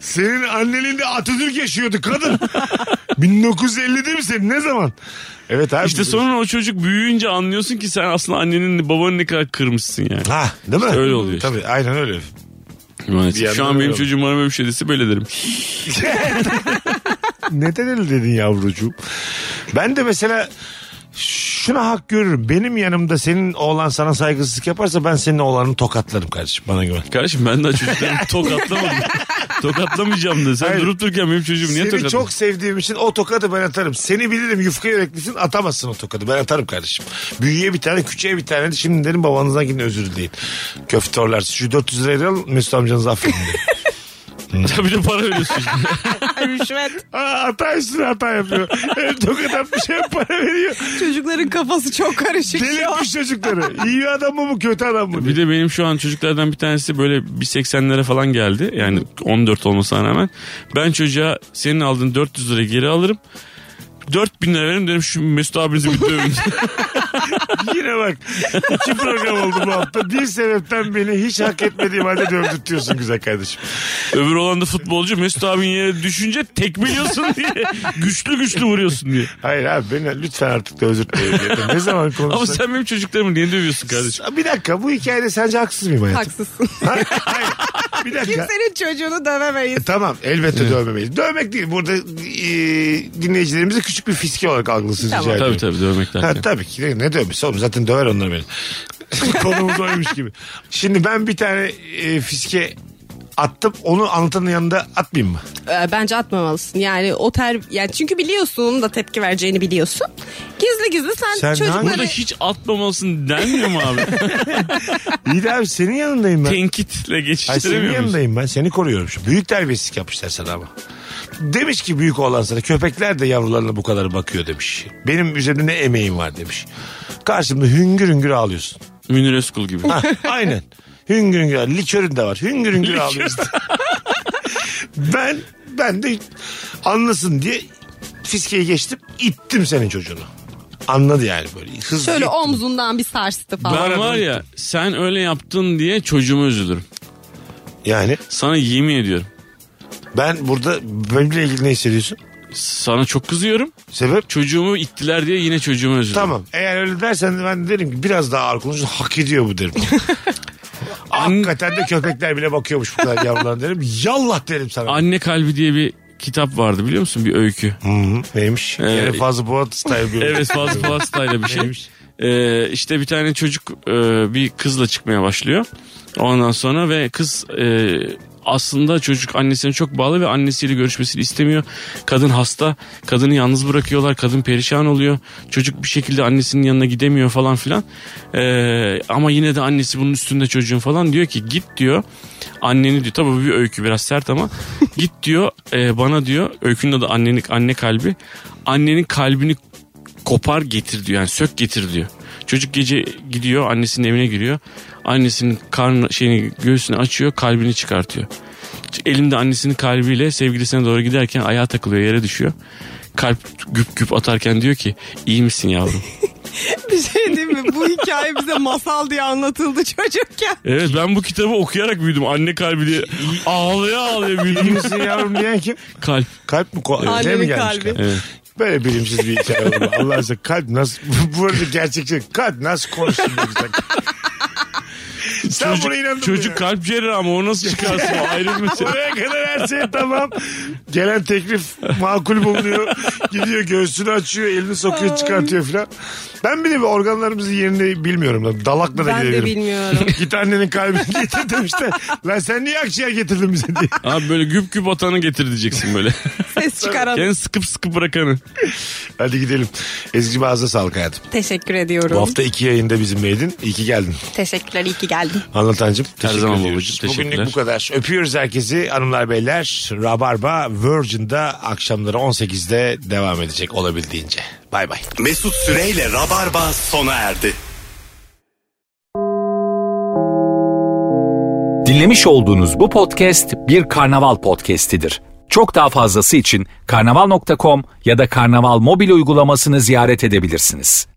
[SPEAKER 3] Senin anneliğinde Atatürk yaşıyordu kadın. 1950'de mi senin? Ne zaman? Evet abi.
[SPEAKER 5] İşte sonra o çocuk büyüyünce anlıyorsun ki sen aslında annenin babanın ne kadar kırmışsın yani.
[SPEAKER 3] Ha değil mi?
[SPEAKER 5] öyle oluyor işte.
[SPEAKER 3] Tabii aynen öyle. Bir
[SPEAKER 5] Şu
[SPEAKER 3] yandan
[SPEAKER 5] an benim
[SPEAKER 3] öyle.
[SPEAKER 5] çocuğum bana böyle bir şey dese böyle derim.
[SPEAKER 3] Neden öyle dedin yavrucuğum? Ben de mesela şuna hak görürüm. Benim yanımda senin oğlan sana saygısızlık yaparsa ben senin oğlanı tokatlarım kardeşim bana güven.
[SPEAKER 5] Kardeşim ben daha çocuklarımı tokatlamadım. Tokatlamayacağım da sen
[SPEAKER 3] Hayır.
[SPEAKER 5] durup dururken benim çocuğum niye
[SPEAKER 3] Seni
[SPEAKER 5] tokatladın?
[SPEAKER 3] çok sevdiğim için o tokadı ben atarım. Seni bilirim yufka yüreklisin atamazsın o tokadı ben atarım kardeşim. Büyüye bir tane küçüğe bir tane de şimdi derim babanızdan gidin özür dileyin. Köftörler şu 400 lirayı alın Mesut amcanızı affedin derim.
[SPEAKER 5] Tabii de para veriyorsun.
[SPEAKER 4] Rüşvet.
[SPEAKER 3] Aa, hata üstüne hata yapıyor. Hem tokat atmış hem para veriyor.
[SPEAKER 4] Çocukların kafası çok karışık. şu an.
[SPEAKER 3] Delirtmiş çocukları. İyi adam mı bu kötü adam mı?
[SPEAKER 5] şey bir de benim şu an çocuklardan bir tanesi böyle 1.80'lere falan geldi. Yani 14 olmasına rağmen. Ben çocuğa senin aldığın 400 lira geri alırım. 4000 lira veririm derim şu Mesut abinizi bir dövün.
[SPEAKER 3] Yine bak iki program oldu bu hafta. Bir sebepten beni hiç hak etmediğim halde dövdürtüyorsun güzel kardeşim.
[SPEAKER 5] Öbür olan da futbolcu Mesut abin yere düşünce tekmeliyorsun diye. Güçlü güçlü vuruyorsun diye.
[SPEAKER 3] Hayır abi beni lütfen artık da özür dilerim. Ne zaman
[SPEAKER 5] Ama
[SPEAKER 3] konuşsak.
[SPEAKER 5] sen benim çocuklarımı niye dövüyorsun kardeşim?
[SPEAKER 3] Bir dakika bu hikayede sence haksız mıyım hayatım?
[SPEAKER 4] Haksızsın.
[SPEAKER 3] Hayır, hayır. Bir dakika. E,
[SPEAKER 4] Kimsenin çocuğunu dövemeyiz.
[SPEAKER 3] Tamam elbette dövmemeyiz. Dövmek değil. Burada e, dinleyicilerimize küçük bir fiske olarak algılasınız
[SPEAKER 4] Tamam.
[SPEAKER 3] rica ediyorum.
[SPEAKER 5] Tabii tabii dövmek
[SPEAKER 3] Ha,
[SPEAKER 5] lazım.
[SPEAKER 3] tabii ki. Ne- Ne dövmesi oğlum zaten döver onları beni. Konumuz oymuş gibi. Şimdi ben bir tane e, fiske attım onu anlatanın yanında atmayayım mı?
[SPEAKER 4] Ee, bence atmamalısın. Yani o ter yani çünkü biliyorsun onun da tepki vereceğini biliyorsun. Gizli gizli sen,
[SPEAKER 3] Sen hangi-
[SPEAKER 4] çocukları
[SPEAKER 5] Burada hiç atmamalısın denmiyor mu abi?
[SPEAKER 3] İyi de abi senin yanındayım ben.
[SPEAKER 5] Tenkitle
[SPEAKER 3] Ay senin
[SPEAKER 5] geçiştiremiyor muyuz?
[SPEAKER 3] yanındayım ben. Seni koruyorum. Şu büyük terbiyesizlik yapmışlar sana ama. Demiş ki büyük olan sana köpekler de yavrularına bu kadar bakıyor demiş. Benim üzerimde ne emeğim var demiş. Karşımda hüngür hüngür ağlıyorsun.
[SPEAKER 5] Münir Özkul gibi.
[SPEAKER 3] Ha, aynen. Hüngür hüngür ağlıyor. Likörün de var. Hüngür hüngür ağlıyorsun. ben ben de anlasın diye fiskeyi geçtim. ittim senin çocuğunu. Anladı yani böyle. Hızlı
[SPEAKER 4] şöyle
[SPEAKER 3] ittim.
[SPEAKER 4] omzundan bir sarstı falan.
[SPEAKER 5] Ben var ya sen öyle yaptın diye çocuğuma üzülürüm.
[SPEAKER 3] Yani
[SPEAKER 5] Sana yemin ediyorum.
[SPEAKER 3] ben burada benimle ilgili ne hissediyorsun?
[SPEAKER 5] Sana çok kızıyorum.
[SPEAKER 3] Sebep?
[SPEAKER 5] Çocuğumu ittiler diye yine çocuğuma üzülürüm.
[SPEAKER 3] Tamam. Eğer öyle dersen ben derim ki biraz daha ağır konuşun. Hak ediyor bu derim. Hakikaten de köpekler bile bakıyormuş bu kadar yavrularına derim. Yallah derim sana.
[SPEAKER 5] Anne kalbi diye bir kitap vardı biliyor musun? Bir öykü.
[SPEAKER 3] Hı hı. Neymiş?
[SPEAKER 5] Ee,
[SPEAKER 3] Yine fazla Polat style bir
[SPEAKER 5] Evet fazla pastayla bir şey.
[SPEAKER 3] Neymiş?
[SPEAKER 5] Ee, işte bir tane çocuk e, bir kızla çıkmaya başlıyor. Ondan sonra ve kız e, aslında çocuk annesine çok bağlı ve annesiyle görüşmesini istemiyor. Kadın hasta, kadını yalnız bırakıyorlar, kadın perişan oluyor. Çocuk bir şekilde annesinin yanına gidemiyor falan filan. Ee, ama yine de annesi bunun üstünde çocuğun falan diyor ki git diyor. Anneni diyor tabii bu bir öykü biraz sert ama git diyor e, bana diyor öykünün adı annenin anne kalbi. Annenin kalbini kopar getir diyor yani sök getir diyor. Çocuk gece gidiyor annesinin evine giriyor. Annesinin karnı şeyini göğsünü açıyor kalbini çıkartıyor. Elimde annesinin kalbiyle sevgilisine doğru giderken ayağa takılıyor yere düşüyor. Kalp güp güp atarken diyor ki iyi misin yavrum?
[SPEAKER 4] Bir şey değil mi? Bu hikaye bize masal diye anlatıldı çocukken.
[SPEAKER 5] evet ben bu kitabı okuyarak büyüdüm. Anne kalbi diye ağlaya ağlaya büyüdüm.
[SPEAKER 3] Kimsin yavrum diyen kim?
[SPEAKER 5] Kalp.
[SPEAKER 3] Kalp mi? Ko- öteye mi
[SPEAKER 4] Annemin
[SPEAKER 3] gelmiş
[SPEAKER 4] kalbi.
[SPEAKER 5] Evet.
[SPEAKER 3] Böyle bilimsiz bir hikaye oldu. Allah aşkına kalp nasıl... Bu arada gerçekçi kalp nasıl konuştun bu güzel. şey. Sen buna inandın mı
[SPEAKER 5] çocuk
[SPEAKER 3] ya?
[SPEAKER 5] kalp cerrahı ama o nasıl çıkarsın? O ayrı bir mesele.
[SPEAKER 3] Buraya kadar her şey tamam. Gelen teklif makul bulunuyor. Gidiyor göğsünü açıyor, elini sokuyor, çıkartıyor filan. Ben bile bir organlarımızın yerini bilmiyorum. lan. Dalakla da
[SPEAKER 4] Ben de
[SPEAKER 3] gelebilirim.
[SPEAKER 4] bilmiyorum.
[SPEAKER 3] Git annenin kalbini getir demişler. Lan sen niye akciğer getirdin bize diye.
[SPEAKER 5] Abi böyle güp güp atanı getir diyeceksin böyle.
[SPEAKER 4] Ses çıkaran.
[SPEAKER 5] Yani sıkıp sıkıp bırakanı.
[SPEAKER 3] Hadi gidelim. Ezgi'cim ağzına sağlık hayatım.
[SPEAKER 4] Teşekkür
[SPEAKER 3] Bu
[SPEAKER 4] ediyorum.
[SPEAKER 3] hafta iki yayında bizimleydin. İyi ki geldin.
[SPEAKER 4] Teşekkürler iyi ki geldin.
[SPEAKER 3] Anlatancım. teşekkür
[SPEAKER 5] zaman
[SPEAKER 3] ediyoruz.
[SPEAKER 5] babacığım, teşekkürler.
[SPEAKER 3] Bugünlük bu kadar. Öpüyoruz herkesi hanımlar beyler. Rabarba Virgin'da akşamları 18'de devam edecek olabildiğince. Bay bay.
[SPEAKER 2] Mesut Süreyle Rabarba sona erdi.
[SPEAKER 1] Dinlemiş olduğunuz bu podcast bir karnaval podcastidir. Çok daha fazlası için karnaval.com ya da karnaval mobil uygulamasını ziyaret edebilirsiniz.